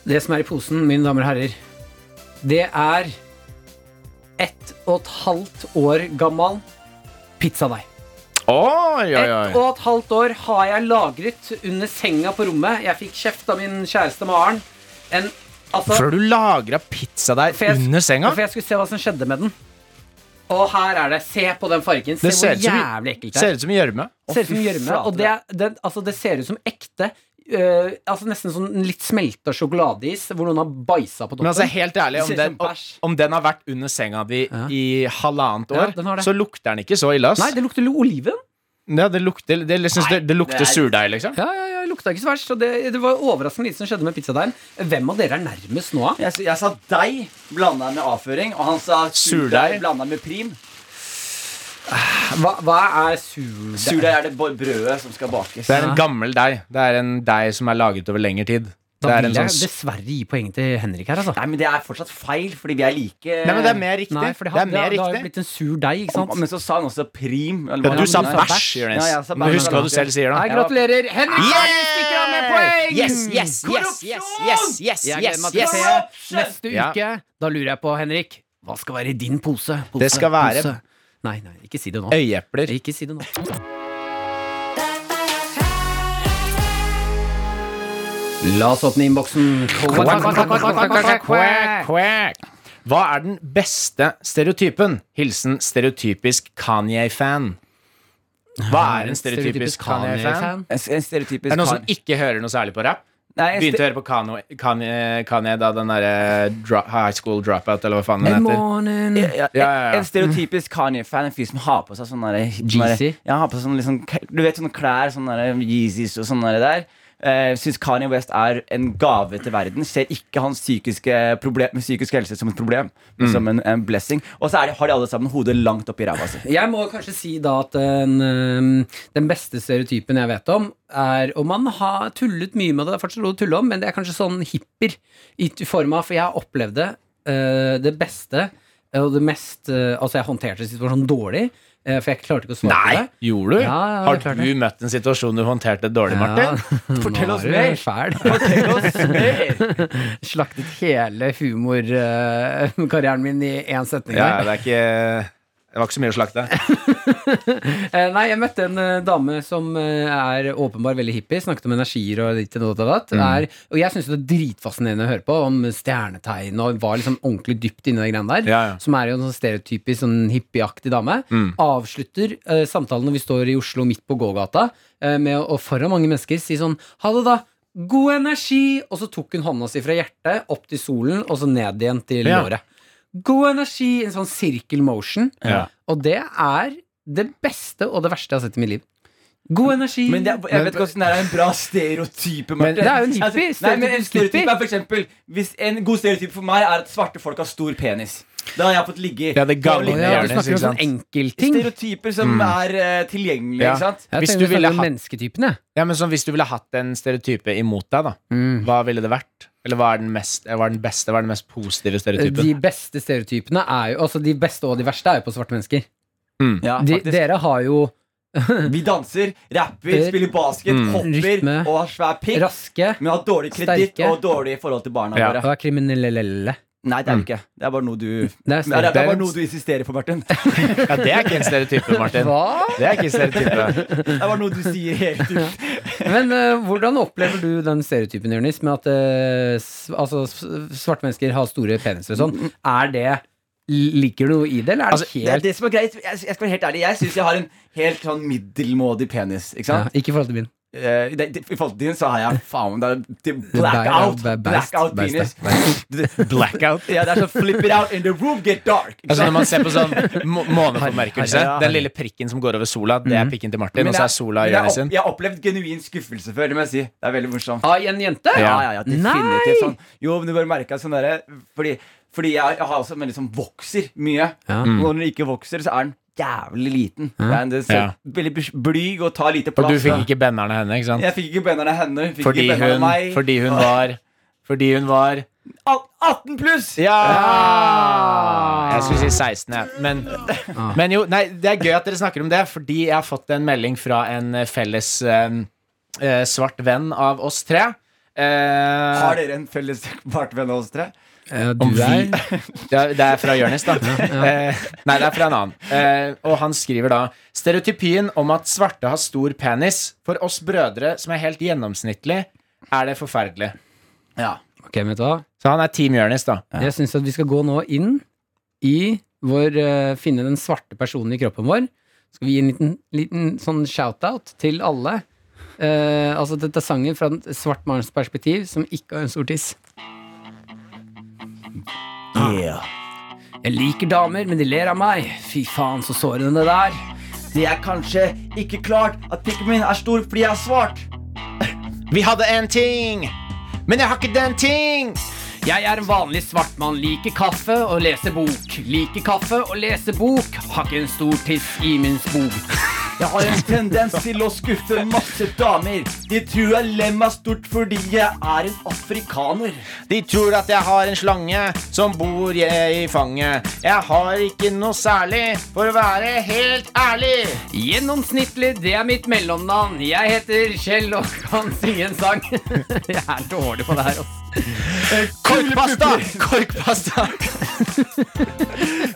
[SPEAKER 3] Det som er i posen, mine damer og herrer Det er Ett og et halvt år gammel Pizzadeig
[SPEAKER 4] Oi, oi,
[SPEAKER 3] Ett og et halvt år har jeg lagret Under senga på rommet Jeg fikk kjeft av min kjæreste Maren En, altså
[SPEAKER 4] Før du lagra pizza der
[SPEAKER 3] For jeg-
[SPEAKER 4] under senga?
[SPEAKER 3] For jeg skulle se hva som skjedde med den Og her er det, se på den fargen Se
[SPEAKER 4] Det ser
[SPEAKER 3] hvor
[SPEAKER 4] ut som-
[SPEAKER 3] jævlig ekkelt det er
[SPEAKER 4] Ser ut som gjørme.
[SPEAKER 3] Ser ut som
[SPEAKER 5] fy
[SPEAKER 3] gjørme.
[SPEAKER 5] flate.
[SPEAKER 3] Og det, er- den, altså, det ser ut som ekte eh, altså Nesten sånn litt smelta sjokoladeis hvor noen har bæsja på toppen.
[SPEAKER 4] Men altså, helt ærlig, om
[SPEAKER 3] Det ser ut
[SPEAKER 4] den,
[SPEAKER 3] som bæsj.
[SPEAKER 4] om den har vært under senga di
[SPEAKER 3] Ja.
[SPEAKER 4] i halvannet
[SPEAKER 3] Ja,
[SPEAKER 4] år,
[SPEAKER 3] den har det.
[SPEAKER 4] så lukter den ikke så ille, ass.
[SPEAKER 3] Nei, det lukter litt oliven.
[SPEAKER 4] Ja, det lukter, det, jeg synes det, det lukter
[SPEAKER 5] det er-
[SPEAKER 4] surdeig, liksom.
[SPEAKER 3] Ja, ja, ja, det lukta ikke så verst. Og det, det var overraskende lite som skjedde med pizzadeigen. Hvem av dere er nærmest nå? da?
[SPEAKER 5] Jeg, s- jeg sa deig blanda med avføring, og han sa surdeig
[SPEAKER 4] Surdeig.
[SPEAKER 5] blanda med prim.
[SPEAKER 3] Hva, hva er surdeig?
[SPEAKER 5] Surdeig er det bo- brødet som skal bakes.
[SPEAKER 4] Det er en gammel deig. Det er en deig som er laget over lengre tid. Det
[SPEAKER 3] Da
[SPEAKER 4] er
[SPEAKER 3] vil
[SPEAKER 4] en
[SPEAKER 3] jeg
[SPEAKER 4] sånn s-
[SPEAKER 3] dessverre gi poeng til Henrik her, altså.
[SPEAKER 5] Nei, men det er fortsatt feil, fordi vi er like
[SPEAKER 4] Nei, men det er mer riktig.
[SPEAKER 3] Nei, for det, har, det,
[SPEAKER 4] mer
[SPEAKER 3] har- det har jo
[SPEAKER 4] riktig.
[SPEAKER 3] blitt en sur deig, ikke sant?
[SPEAKER 5] Men så sa han også prim. eller
[SPEAKER 4] Ja,
[SPEAKER 5] hva
[SPEAKER 4] du
[SPEAKER 5] han
[SPEAKER 4] sa
[SPEAKER 5] sa.
[SPEAKER 4] bæsj,
[SPEAKER 5] Ja,
[SPEAKER 4] Jonis.
[SPEAKER 5] jeg sa
[SPEAKER 4] Men
[SPEAKER 5] bæsj.
[SPEAKER 4] Husk hva du selv sier,
[SPEAKER 3] Nei,
[SPEAKER 4] da.
[SPEAKER 3] gratulerer. Henrik
[SPEAKER 4] Yeah!
[SPEAKER 3] stikker av med poeng! Mm.
[SPEAKER 4] Yes, yes, yes, yes, yes, yes,
[SPEAKER 3] Jeg gleder
[SPEAKER 4] yes,
[SPEAKER 3] meg til å
[SPEAKER 4] yes.
[SPEAKER 3] se neste
[SPEAKER 4] Ja.
[SPEAKER 3] uke. Da lurer jeg på, Henrik, hva skal være i din pose? pose
[SPEAKER 4] Det skal være-
[SPEAKER 3] pose? Nei, nei, ikke si det nå.
[SPEAKER 4] Øyeepler.
[SPEAKER 3] Ikke si det nå. La oss åpne innboksen.
[SPEAKER 4] Quack, quack. Hva er den beste stereotypen? Hilsen stereotypisk Kanye-fan. Hva er en stereotypisk Kanye-fan?
[SPEAKER 5] En s- En stereotypisk
[SPEAKER 4] Er det noen som
[SPEAKER 5] kar.
[SPEAKER 4] ikke hører noe særlig på rapp?
[SPEAKER 5] Nei, en
[SPEAKER 4] Begynte å
[SPEAKER 5] ste-
[SPEAKER 4] høre på Kanye, Kanye, Kanye da den derre dro- High School Dropout, eller hva faen den
[SPEAKER 3] Good
[SPEAKER 4] heter.
[SPEAKER 3] morning.
[SPEAKER 5] ja,
[SPEAKER 4] Ja, ja, ja.
[SPEAKER 5] En stereotypisk Kanye-fan. En fyr som har på seg sånne der, sånne
[SPEAKER 3] Jeezy?
[SPEAKER 5] der, ja, har på seg sånne, liksom, k- Du vet sånne klær, sånne der, Yeezys og sånne der. Uh, Syns Kanye West er en gave til verden. Ser ikke hans psykiske, problem, psykiske helse som et problem, men som en, en blessing. Og så er de, har de alle sammen hodet langt oppi ræva si.
[SPEAKER 3] Jeg må kanskje si da at den, øhm, den beste stereotypen jeg vet om, er Og man har tullet mye med det, det er fortsatt lov å tulle om, men det er kanskje sånn hipper i t- form av For jeg har opplevd det, øh, det beste og det mest øh, Altså, jeg håndterte situasjonen dårlig, øh, for jeg klarte ikke å svare
[SPEAKER 4] Nei,
[SPEAKER 3] på det.
[SPEAKER 4] gjorde du?
[SPEAKER 3] Ja, ja,
[SPEAKER 4] Har
[SPEAKER 3] det er klart
[SPEAKER 4] du møtt en situasjon du håndterte dårlig, Martin?
[SPEAKER 3] Ja,
[SPEAKER 5] Fortell oss
[SPEAKER 3] nå er
[SPEAKER 5] mer.
[SPEAKER 3] du fæl. [LAUGHS] Slaktet hele humorkarrieren min i én setning.
[SPEAKER 4] Ja,
[SPEAKER 3] der.
[SPEAKER 4] det er ikke Det var ikke så mye å slakte.
[SPEAKER 3] Eh, Nei, jeg møtte en eh, dame som eh, er åpenbar veldig hippie. Snakket om energier og ditt og datt. og
[SPEAKER 4] Mm.
[SPEAKER 3] datt. Er, og jeg syns det er dritfascinerende å høre på om stjernetegn og var liksom ordentlig dypt inni de greiene der.
[SPEAKER 4] Ja, Mm. ja.
[SPEAKER 3] Som er jo en sånn stereotypisk sånn hippieaktig dame. Avslutter eh, samtalen når vi står i Oslo midt på gågata eh, med å, og foran mange mennesker, si sånn ha det, da. God energi! Og så tok hun hånda si fra hjertet opp til solen, og så ned igjen til
[SPEAKER 4] Ja.
[SPEAKER 3] låret. God energi! En sånn circle motion.
[SPEAKER 4] Ja.
[SPEAKER 3] Og det er det beste og det verste jeg har sett i mitt liv. God energi.
[SPEAKER 5] Men det, er- jeg vet ikke hvordan det er en bra stereotype. Martin. Altså,
[SPEAKER 3] det er jo en hippie,
[SPEAKER 5] nei, men en
[SPEAKER 3] stereotypisk
[SPEAKER 5] stereotype
[SPEAKER 3] hippie.
[SPEAKER 5] er for eksempel, hvis En god stereotype for meg er at svarte folk har stor penis. Da har jeg fått ligge i.
[SPEAKER 4] Ja, det gamle
[SPEAKER 5] Da har jeg
[SPEAKER 3] Å ja,
[SPEAKER 5] ligget
[SPEAKER 3] du snakker
[SPEAKER 4] Gjerne,
[SPEAKER 3] om
[SPEAKER 4] ikke
[SPEAKER 3] sånn
[SPEAKER 4] sant?
[SPEAKER 5] i
[SPEAKER 3] enkeltting.
[SPEAKER 5] Stereotyper som er eh,
[SPEAKER 4] Mm.
[SPEAKER 5] tilgjengelige.
[SPEAKER 4] Ja.
[SPEAKER 5] Ikke sant?
[SPEAKER 3] Jeg
[SPEAKER 4] Hvis
[SPEAKER 3] tenkte
[SPEAKER 4] du
[SPEAKER 3] å
[SPEAKER 4] ville
[SPEAKER 3] snakke om
[SPEAKER 4] hatt-
[SPEAKER 3] mennesketypene.
[SPEAKER 4] Ja, men sånn, Hvis du ville hatt en stereotype imot deg, da, hva ville det vært? Eller hva er den, mest, hva er den beste hva er den mest positive stereotypen?
[SPEAKER 3] De beste stereotypene er jo Altså de beste og de verste er jo på svarte mennesker.
[SPEAKER 4] Mm.
[SPEAKER 5] Ja,
[SPEAKER 3] De,
[SPEAKER 5] faktisk.
[SPEAKER 3] dere har jo
[SPEAKER 5] Vi danser, rapper,
[SPEAKER 3] Der.
[SPEAKER 5] spiller basket,
[SPEAKER 4] Mm.
[SPEAKER 5] hopper
[SPEAKER 3] Rytme.
[SPEAKER 5] og har svær pikk.
[SPEAKER 3] raske
[SPEAKER 5] Men har dårlig kreditt
[SPEAKER 3] Sterke.
[SPEAKER 5] og dårlig forhold til barna
[SPEAKER 4] Ja. Mm.
[SPEAKER 5] våre.
[SPEAKER 3] og er kriminelle.
[SPEAKER 5] Nei, det er det ikke. Det er bare noe du
[SPEAKER 3] Det er
[SPEAKER 5] Nei, det er bare
[SPEAKER 3] stereotypt.
[SPEAKER 5] noe du insisterer
[SPEAKER 3] [LAUGHS]
[SPEAKER 5] på, Martin. Det
[SPEAKER 4] Ja, det er ikke en stereotype, Martin.
[SPEAKER 3] Hva?
[SPEAKER 4] Det er ikke en stereotype.
[SPEAKER 5] er bare noe du sier helt
[SPEAKER 3] [LAUGHS]
[SPEAKER 5] ut.
[SPEAKER 3] Men eh, hvordan opplever du den stereotypen, Jonis, med at eh, s- altså, s- svarte mennesker har store peniser og sånn? Er det Liker du noe i det, eller er det
[SPEAKER 5] Altså, Det er
[SPEAKER 3] Altså, helt
[SPEAKER 5] det som er greit. Jeg, jeg skal være helt ærlig. Jeg syns jeg har en helt sånn middelmådig penis. Ikke
[SPEAKER 3] ja,
[SPEAKER 5] sant?
[SPEAKER 3] Ikke i forhold til min.
[SPEAKER 5] Eh, det, det, I forhold til din så har jeg faen det er til
[SPEAKER 3] Blackout,
[SPEAKER 5] blackout.
[SPEAKER 3] ba- bast,
[SPEAKER 5] Blackout
[SPEAKER 3] bast,
[SPEAKER 5] penis.
[SPEAKER 4] Blackout.
[SPEAKER 5] [LAUGHS] Ja, det er sånn flip it out in the room, get dark. Ikke
[SPEAKER 4] Altså Når
[SPEAKER 5] sant?
[SPEAKER 4] man ser på sånn må- måneformerkelse,
[SPEAKER 5] Har- har-
[SPEAKER 4] den lille prikken som går over sola, det er pikken til Martin,
[SPEAKER 5] Mm.
[SPEAKER 4] og
[SPEAKER 5] Men
[SPEAKER 4] så er
[SPEAKER 5] jeg-
[SPEAKER 4] sola
[SPEAKER 5] men
[SPEAKER 4] Jonis
[SPEAKER 5] jeg,
[SPEAKER 4] sin. Ah,
[SPEAKER 5] opp- jeg har opplevd genuin skuffelse før, det må jeg si. Det er veldig morsomt.
[SPEAKER 3] Av en jente?
[SPEAKER 5] Ah, Ja, ja, ja,
[SPEAKER 3] Nei!
[SPEAKER 5] definitivt sånn. Jo, men du bare merka sånn derre Fordi, fordi jeg, jeg har også en som vokser mye.
[SPEAKER 3] Ja.
[SPEAKER 4] Mm.
[SPEAKER 5] Og når den ikke vokser, så er den jævlig liten. Det er en, det er så,
[SPEAKER 4] Ja.
[SPEAKER 5] Veldig bes- blyg og tar lite
[SPEAKER 4] For
[SPEAKER 5] plass.
[SPEAKER 4] du fikk
[SPEAKER 5] da.
[SPEAKER 4] ikke bennerne henne, ikke sant?
[SPEAKER 5] Jeg fikk ikke bennerne henne. Fikk
[SPEAKER 4] Fordi
[SPEAKER 5] ikke bennerne
[SPEAKER 4] hun,
[SPEAKER 5] meg.
[SPEAKER 4] fordi hun var Fordi hun var
[SPEAKER 5] Al- 18 pluss!
[SPEAKER 4] Ja! Jeg skulle si 16, jeg. Men, men jo, nei, det er gøy at dere snakker om det, fordi jeg har fått en melding fra en eh, felles eh, eh, svart venn av oss tre. Eh,
[SPEAKER 5] Har dere en felles bartvenn av oss tre?
[SPEAKER 3] Ja, du er
[SPEAKER 4] [LAUGHS] det er, det er fra Jonis, da. Eh, nei, det er fra en annen. Eh, og han skriver da Stereotypien om at svarte har stor penis, for oss brødre som er helt gjennomsnittlig, er det forferdelig.
[SPEAKER 3] Ok, vet du hva?
[SPEAKER 4] Så han er Team Jonis, da.
[SPEAKER 3] Jeg syns at vi skal gå nå inn i vår eh, Finne den svarte personen i kroppen vår. Skal vi gi en liten, liten sånn shout-out til alle? Eh, altså Dette er sangen fra en svart manns perspektiv som ikke har en stor tiss. Jeg liker damer, men de ler av meg. Fy faen, så sårende det der.
[SPEAKER 5] Det er kanskje ikke klart at pikken min er stor fordi jeg er svart.
[SPEAKER 4] Vi hadde en ting, men jeg har ikke den ting.
[SPEAKER 3] Jeg er en vanlig svart mann. Liker kaffe og leser bok. Liker kaffe og leser bok. Har ikke en stor tiss i min spok.
[SPEAKER 5] Jeg har en tendens til å skuffe masse damer. De tror jeg ler meg stort fordi jeg er en afrikaner.
[SPEAKER 4] De tror at jeg har en slange som bor jeg i fanget. Jeg har ikke noe særlig, for å være helt ærlig.
[SPEAKER 3] Gjennomsnittlig, det er mitt mellomnavn. Jeg heter Kjell og kan synge en sang. [LAUGHS] Jeg er dårlig på det her. altså. ass.
[SPEAKER 4] Korkpasta! Korkpasta.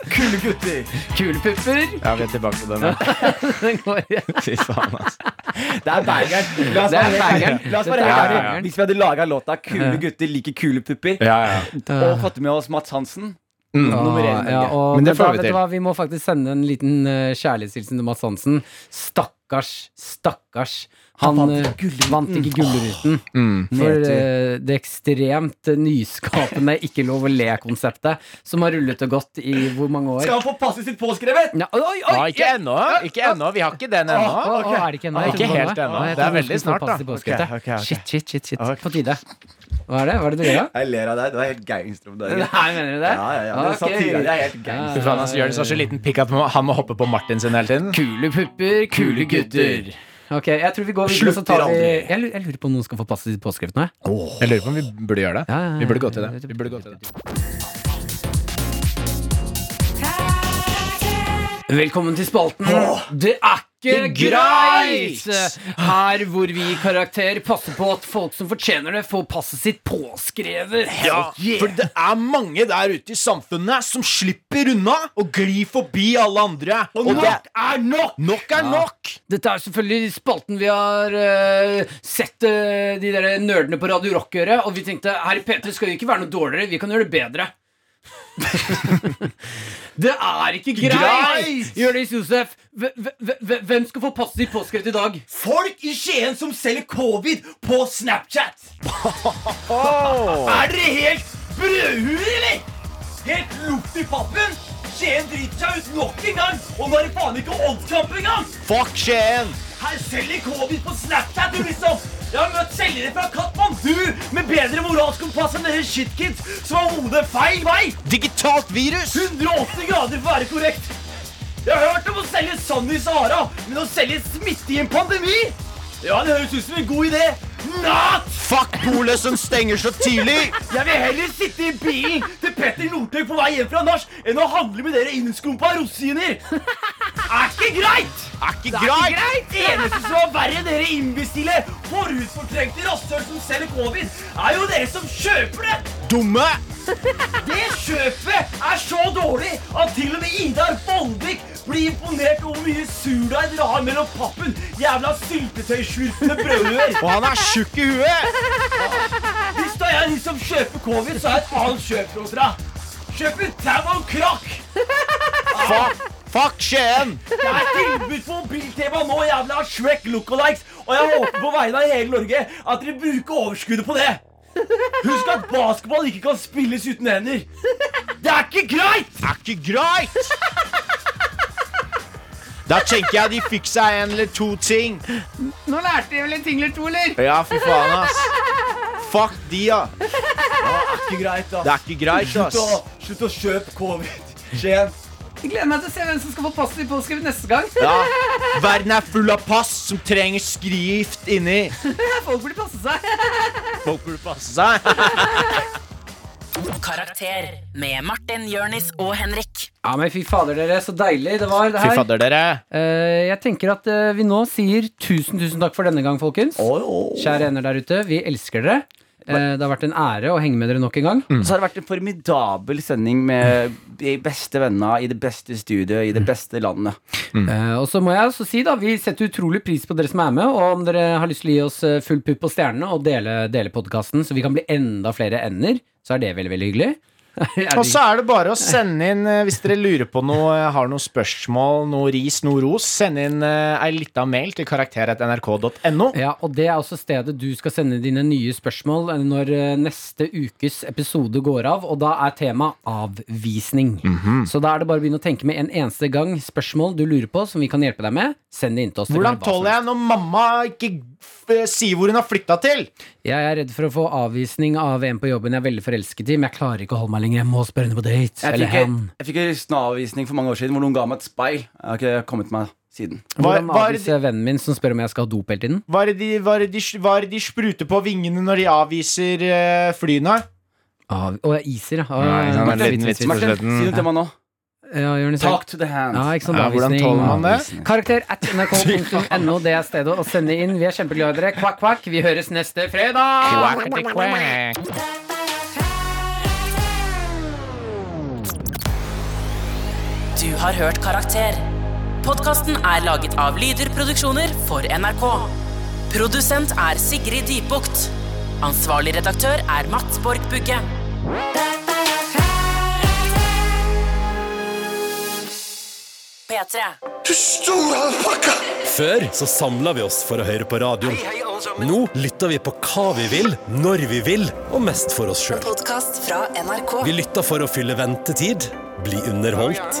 [SPEAKER 5] Kule gutter.
[SPEAKER 3] Kule pupper.
[SPEAKER 4] [LAUGHS]
[SPEAKER 3] [LAUGHS]
[SPEAKER 4] Ja, vi er tilbake på den.
[SPEAKER 3] Den går igjen.
[SPEAKER 4] [LAUGHS] Fy faen, altså.
[SPEAKER 5] Det er bangeren. La oss
[SPEAKER 3] Det er
[SPEAKER 5] være helt
[SPEAKER 3] bangeren.
[SPEAKER 5] ærlige. La oss
[SPEAKER 3] Dette
[SPEAKER 5] være helt
[SPEAKER 4] er
[SPEAKER 5] ærlige.
[SPEAKER 3] bangeren.
[SPEAKER 5] Hvis vi hadde laga låta 'Kule gutter liker kule pupper'
[SPEAKER 4] Ja, ja. Mm.
[SPEAKER 5] og fått med oss Mats Hansen Nummer én.
[SPEAKER 3] Ja,
[SPEAKER 5] Norge.
[SPEAKER 3] og,
[SPEAKER 4] Men
[SPEAKER 3] men
[SPEAKER 4] det får
[SPEAKER 3] da,
[SPEAKER 4] vi
[SPEAKER 3] vet
[SPEAKER 4] til.
[SPEAKER 3] du hva, vi må faktisk sende en liten eh, kjærlighetshilsen til Mads Hansen. Stakkars, stakkars. Han, eh, vant
[SPEAKER 5] Mm.
[SPEAKER 3] ikke
[SPEAKER 4] Mm.
[SPEAKER 3] Gullruten
[SPEAKER 4] Ah,
[SPEAKER 3] for eh, det ekstremt eh, nyskapende Ikke lov å le-konseptet som har rullet og gått i hvor mange år?
[SPEAKER 5] Skal han få passet sitt påskrevet?
[SPEAKER 3] Ja, oi, oi,
[SPEAKER 4] Ja, ikke ennå. Ikke ennå. Vi har ikke den
[SPEAKER 3] Å, å,
[SPEAKER 4] ennå.
[SPEAKER 3] å, er det ikke ennå? Jeg
[SPEAKER 4] Ah, Ikke
[SPEAKER 3] trodde det
[SPEAKER 4] helt
[SPEAKER 3] var
[SPEAKER 4] ennå.
[SPEAKER 3] Nei, jeg
[SPEAKER 4] Det er
[SPEAKER 3] trodde
[SPEAKER 4] veldig
[SPEAKER 3] vi skulle
[SPEAKER 4] snart, da.
[SPEAKER 3] passe på skrittet.
[SPEAKER 5] Ok, ok, ok.
[SPEAKER 3] Shit, shit, shit, shit. På tide. Hva er det? Hva er det du gjør, da?
[SPEAKER 5] Jeg ler av deg. Du er helt gangster om dagen.
[SPEAKER 3] Nei, mener du det?
[SPEAKER 5] [LAUGHS] Ja, ja, ja. Det er
[SPEAKER 3] Ok.
[SPEAKER 5] satire. Det er helt gangster.
[SPEAKER 4] Fy faen, altså, Jonis har så liten pikk at han må hoppe på Martin sin hele tiden.
[SPEAKER 3] Kule pupper, kule gutter. Ok, jeg tror vi går videre, så tar vi
[SPEAKER 5] Slutter aldri.
[SPEAKER 3] Jeg lurer jeg lurer på om noen skal få passet sitt påskrift nå, jeg.
[SPEAKER 4] Jeg lurer på om vi burde gjøre det.
[SPEAKER 3] Ja, ja, ja.
[SPEAKER 4] Vi burde gå til det. Vi burde gå til det.
[SPEAKER 3] Velkommen til spalten Det er ikke greit! Her hvor vi i karakter passer på at folk som fortjener det, får passet sitt påskrevet.
[SPEAKER 4] for det er mange der ute i samfunnet som slipper unna og glir forbi alle andre. Og nok er nok! Nok er nok!
[SPEAKER 3] Dette er selvfølgelig spalten vi har eh, sett eh, de der nerdene på Radio Rock gjøre, og vi tenkte her i P3 skal vi ikke være noe dårligere, vi kan gjøre det bedre. [LAUGHS] det er ikke greit!
[SPEAKER 4] Greit!
[SPEAKER 3] Jonis Josef, hve- hve- hve- hvem skal få passet sitt påskrevet i dag?
[SPEAKER 5] Folk i Skien som selger covid på Snapchat. Er dere helt brødhuer, eller? Helt lukt i pappen? Skien driter seg ut nok en gang, og nå er det faen ikke Oddskamp engang!
[SPEAKER 4] Fuck Skien!
[SPEAKER 5] Her selger covid på Snapchat, du, liksom! Jeg har møtt selgere fra Katmandu med bedre moralsk kompass enn dere shitkids som har hodet feil vei!
[SPEAKER 4] Digitalt virus!
[SPEAKER 5] 180 grader for å være korrekt! Jeg har hørt om å selge sand i Sahara, men å selge smitte i en pandemi? Ja, det høres ut som en god idé. Not!
[SPEAKER 4] Fuck polet som stenger så tidlig!
[SPEAKER 5] Jeg vil heller sitte i bilen til Petter Northug på vei hjem fra nach enn å handle med dere innskumpa rosiner! Er ikke greit!
[SPEAKER 4] Er ikke greit!
[SPEAKER 5] Det eneste som er verre enn dere imbestille, forhudfortrengte rasshøl som selger covid, er jo dere som kjøper det!
[SPEAKER 4] dumme!
[SPEAKER 5] Det kjøpet er så dårlig at til og med Idar Vollvik blir imponert over hvor mye surdeig dere har mellom pappen. Jævla syltetøysvulpende brødluer.
[SPEAKER 4] Og han er tjukk i huet!
[SPEAKER 5] Hvis det er jeg som kjøper covid, så er jeg et annet kjøp hos dere. Kjøp en tau og en krakk.
[SPEAKER 4] Fuck, fuck Skien!
[SPEAKER 5] Det er tilbud på mobiltema nå, jævla Shrek lookalikes. Og jeg håper på vegne av hele Norge at dere bruker overskuddet på det. Husk at basketball ikke kan spilles uten hender. Det er ikke greit!
[SPEAKER 4] Er ikke greit! Da tenker jeg de fikk seg en eller to ting.
[SPEAKER 3] Nå lærte de vel en ting eller to, eller?
[SPEAKER 4] Ja, fy faen, ass. Fuck de, ja.
[SPEAKER 5] Det er ikke greit, da.
[SPEAKER 4] Det er ikke greit,
[SPEAKER 5] Slutt å,
[SPEAKER 4] ass.
[SPEAKER 5] slutt å kjøpe covid. Skien.
[SPEAKER 3] Jeg gleder meg til å se hvem som skal få passet i påskrift neste gang. [LAUGHS]
[SPEAKER 4] Ja. Verden er full av pass som trenger skrift inni.
[SPEAKER 3] Folk burde passe seg.
[SPEAKER 4] Folk burde passe seg.
[SPEAKER 2] Karakter med Martin, Jørnis og Henrik.
[SPEAKER 3] Ja, men fy fader, dere. Så deilig det var, det her.
[SPEAKER 4] dere.
[SPEAKER 3] Eh, jeg tenker at eh, vi nå sier tusen, tusen takk for denne gang, folkens. Kjære venner der ute, vi elsker dere. Eh, det har vært en ære å henge med dere nok en gang.
[SPEAKER 5] Så har det vært en formidabel sending med de beste vennene i det beste studioet i
[SPEAKER 3] Mm.
[SPEAKER 5] det beste landet.
[SPEAKER 3] Eh, og så må jeg også si da, Vi setter utrolig pris på dere som er med, og om dere har lyst til å gi oss eh, full pupp på stjernene og dele, dele podkasten, så vi kan bli enda flere ender, så er det veldig veldig hyggelig. Er det-
[SPEAKER 4] Og så er det bare å sende inn eh, hvis dere lurer på noe, eh, har noen spørsmål, noe ris, noe ros. Send inn eh, ei lita mail til karakter.nrk.no.
[SPEAKER 3] ja, og Det er også stedet du skal sende dine nye spørsmål eh, når eh, neste ukes episode går av. Og da er tema avvisning.
[SPEAKER 4] Mhm.
[SPEAKER 3] Så da er det bare å begynne å tenke med en eneste gang spørsmål du lurer på som vi kan hjelpe deg med. Send det inn til oss. Det kan
[SPEAKER 4] Hvordan
[SPEAKER 3] være hva som
[SPEAKER 4] tåler jeg når mamma ikke f- eh, sier hvor hun har flytta til?
[SPEAKER 3] Jeg er redd for å få avvisning av en på jobben jeg er veldig forelsket i, men jeg klarer ikke å holde meg lenger. Jeg må spørre henne på date.
[SPEAKER 5] Jeg
[SPEAKER 3] Eller
[SPEAKER 5] fikk,
[SPEAKER 3] han.
[SPEAKER 5] jeg fikk en rystende avvisning for mange år siden hvor noen ga meg et speil. Jeg har ikke kommet meg siden.
[SPEAKER 4] Var,
[SPEAKER 3] Hvordan
[SPEAKER 4] var,
[SPEAKER 3] avviser jeg vennen min som spør om jeg skal ha dop hele tiden?
[SPEAKER 4] var, de, var, de, var de spruter på vingene når de avviser eh, flyene?
[SPEAKER 3] Av, å, jeg iser, ja. Å,
[SPEAKER 4] Nei,
[SPEAKER 3] ja,
[SPEAKER 4] det var en
[SPEAKER 3] ja,
[SPEAKER 4] liten
[SPEAKER 3] vits,
[SPEAKER 4] vits.
[SPEAKER 3] vits, vits.
[SPEAKER 5] Martin, si noe til meg nå.
[SPEAKER 3] Ja, Jonis,
[SPEAKER 5] Talk to the hand.
[SPEAKER 3] Ja, ikke sant,
[SPEAKER 4] Ja, hvordan
[SPEAKER 3] avvisning.
[SPEAKER 4] tåler man det?
[SPEAKER 3] Karakter at
[SPEAKER 4] [LAUGHS]
[SPEAKER 3] nrk.no, det er stedet å sende inn. Vi er kjempeglade i dere. Kvakk, kvakk. Vi høres neste fredag!
[SPEAKER 2] Du har hørt Karakter. Podkasten er laget av Lyder Produksjoner for NRK. Produsent er Sigrid Dybukt. Ansvarlig redaktør er Mats Borg Bugge. P3.
[SPEAKER 8] Før så samla vi oss for å høre på radioen. Nå lytter vi på hva vi vil, når vi vil, og mest for oss sjøl. Vi lytter for å fylle ventetid, bli underholdt,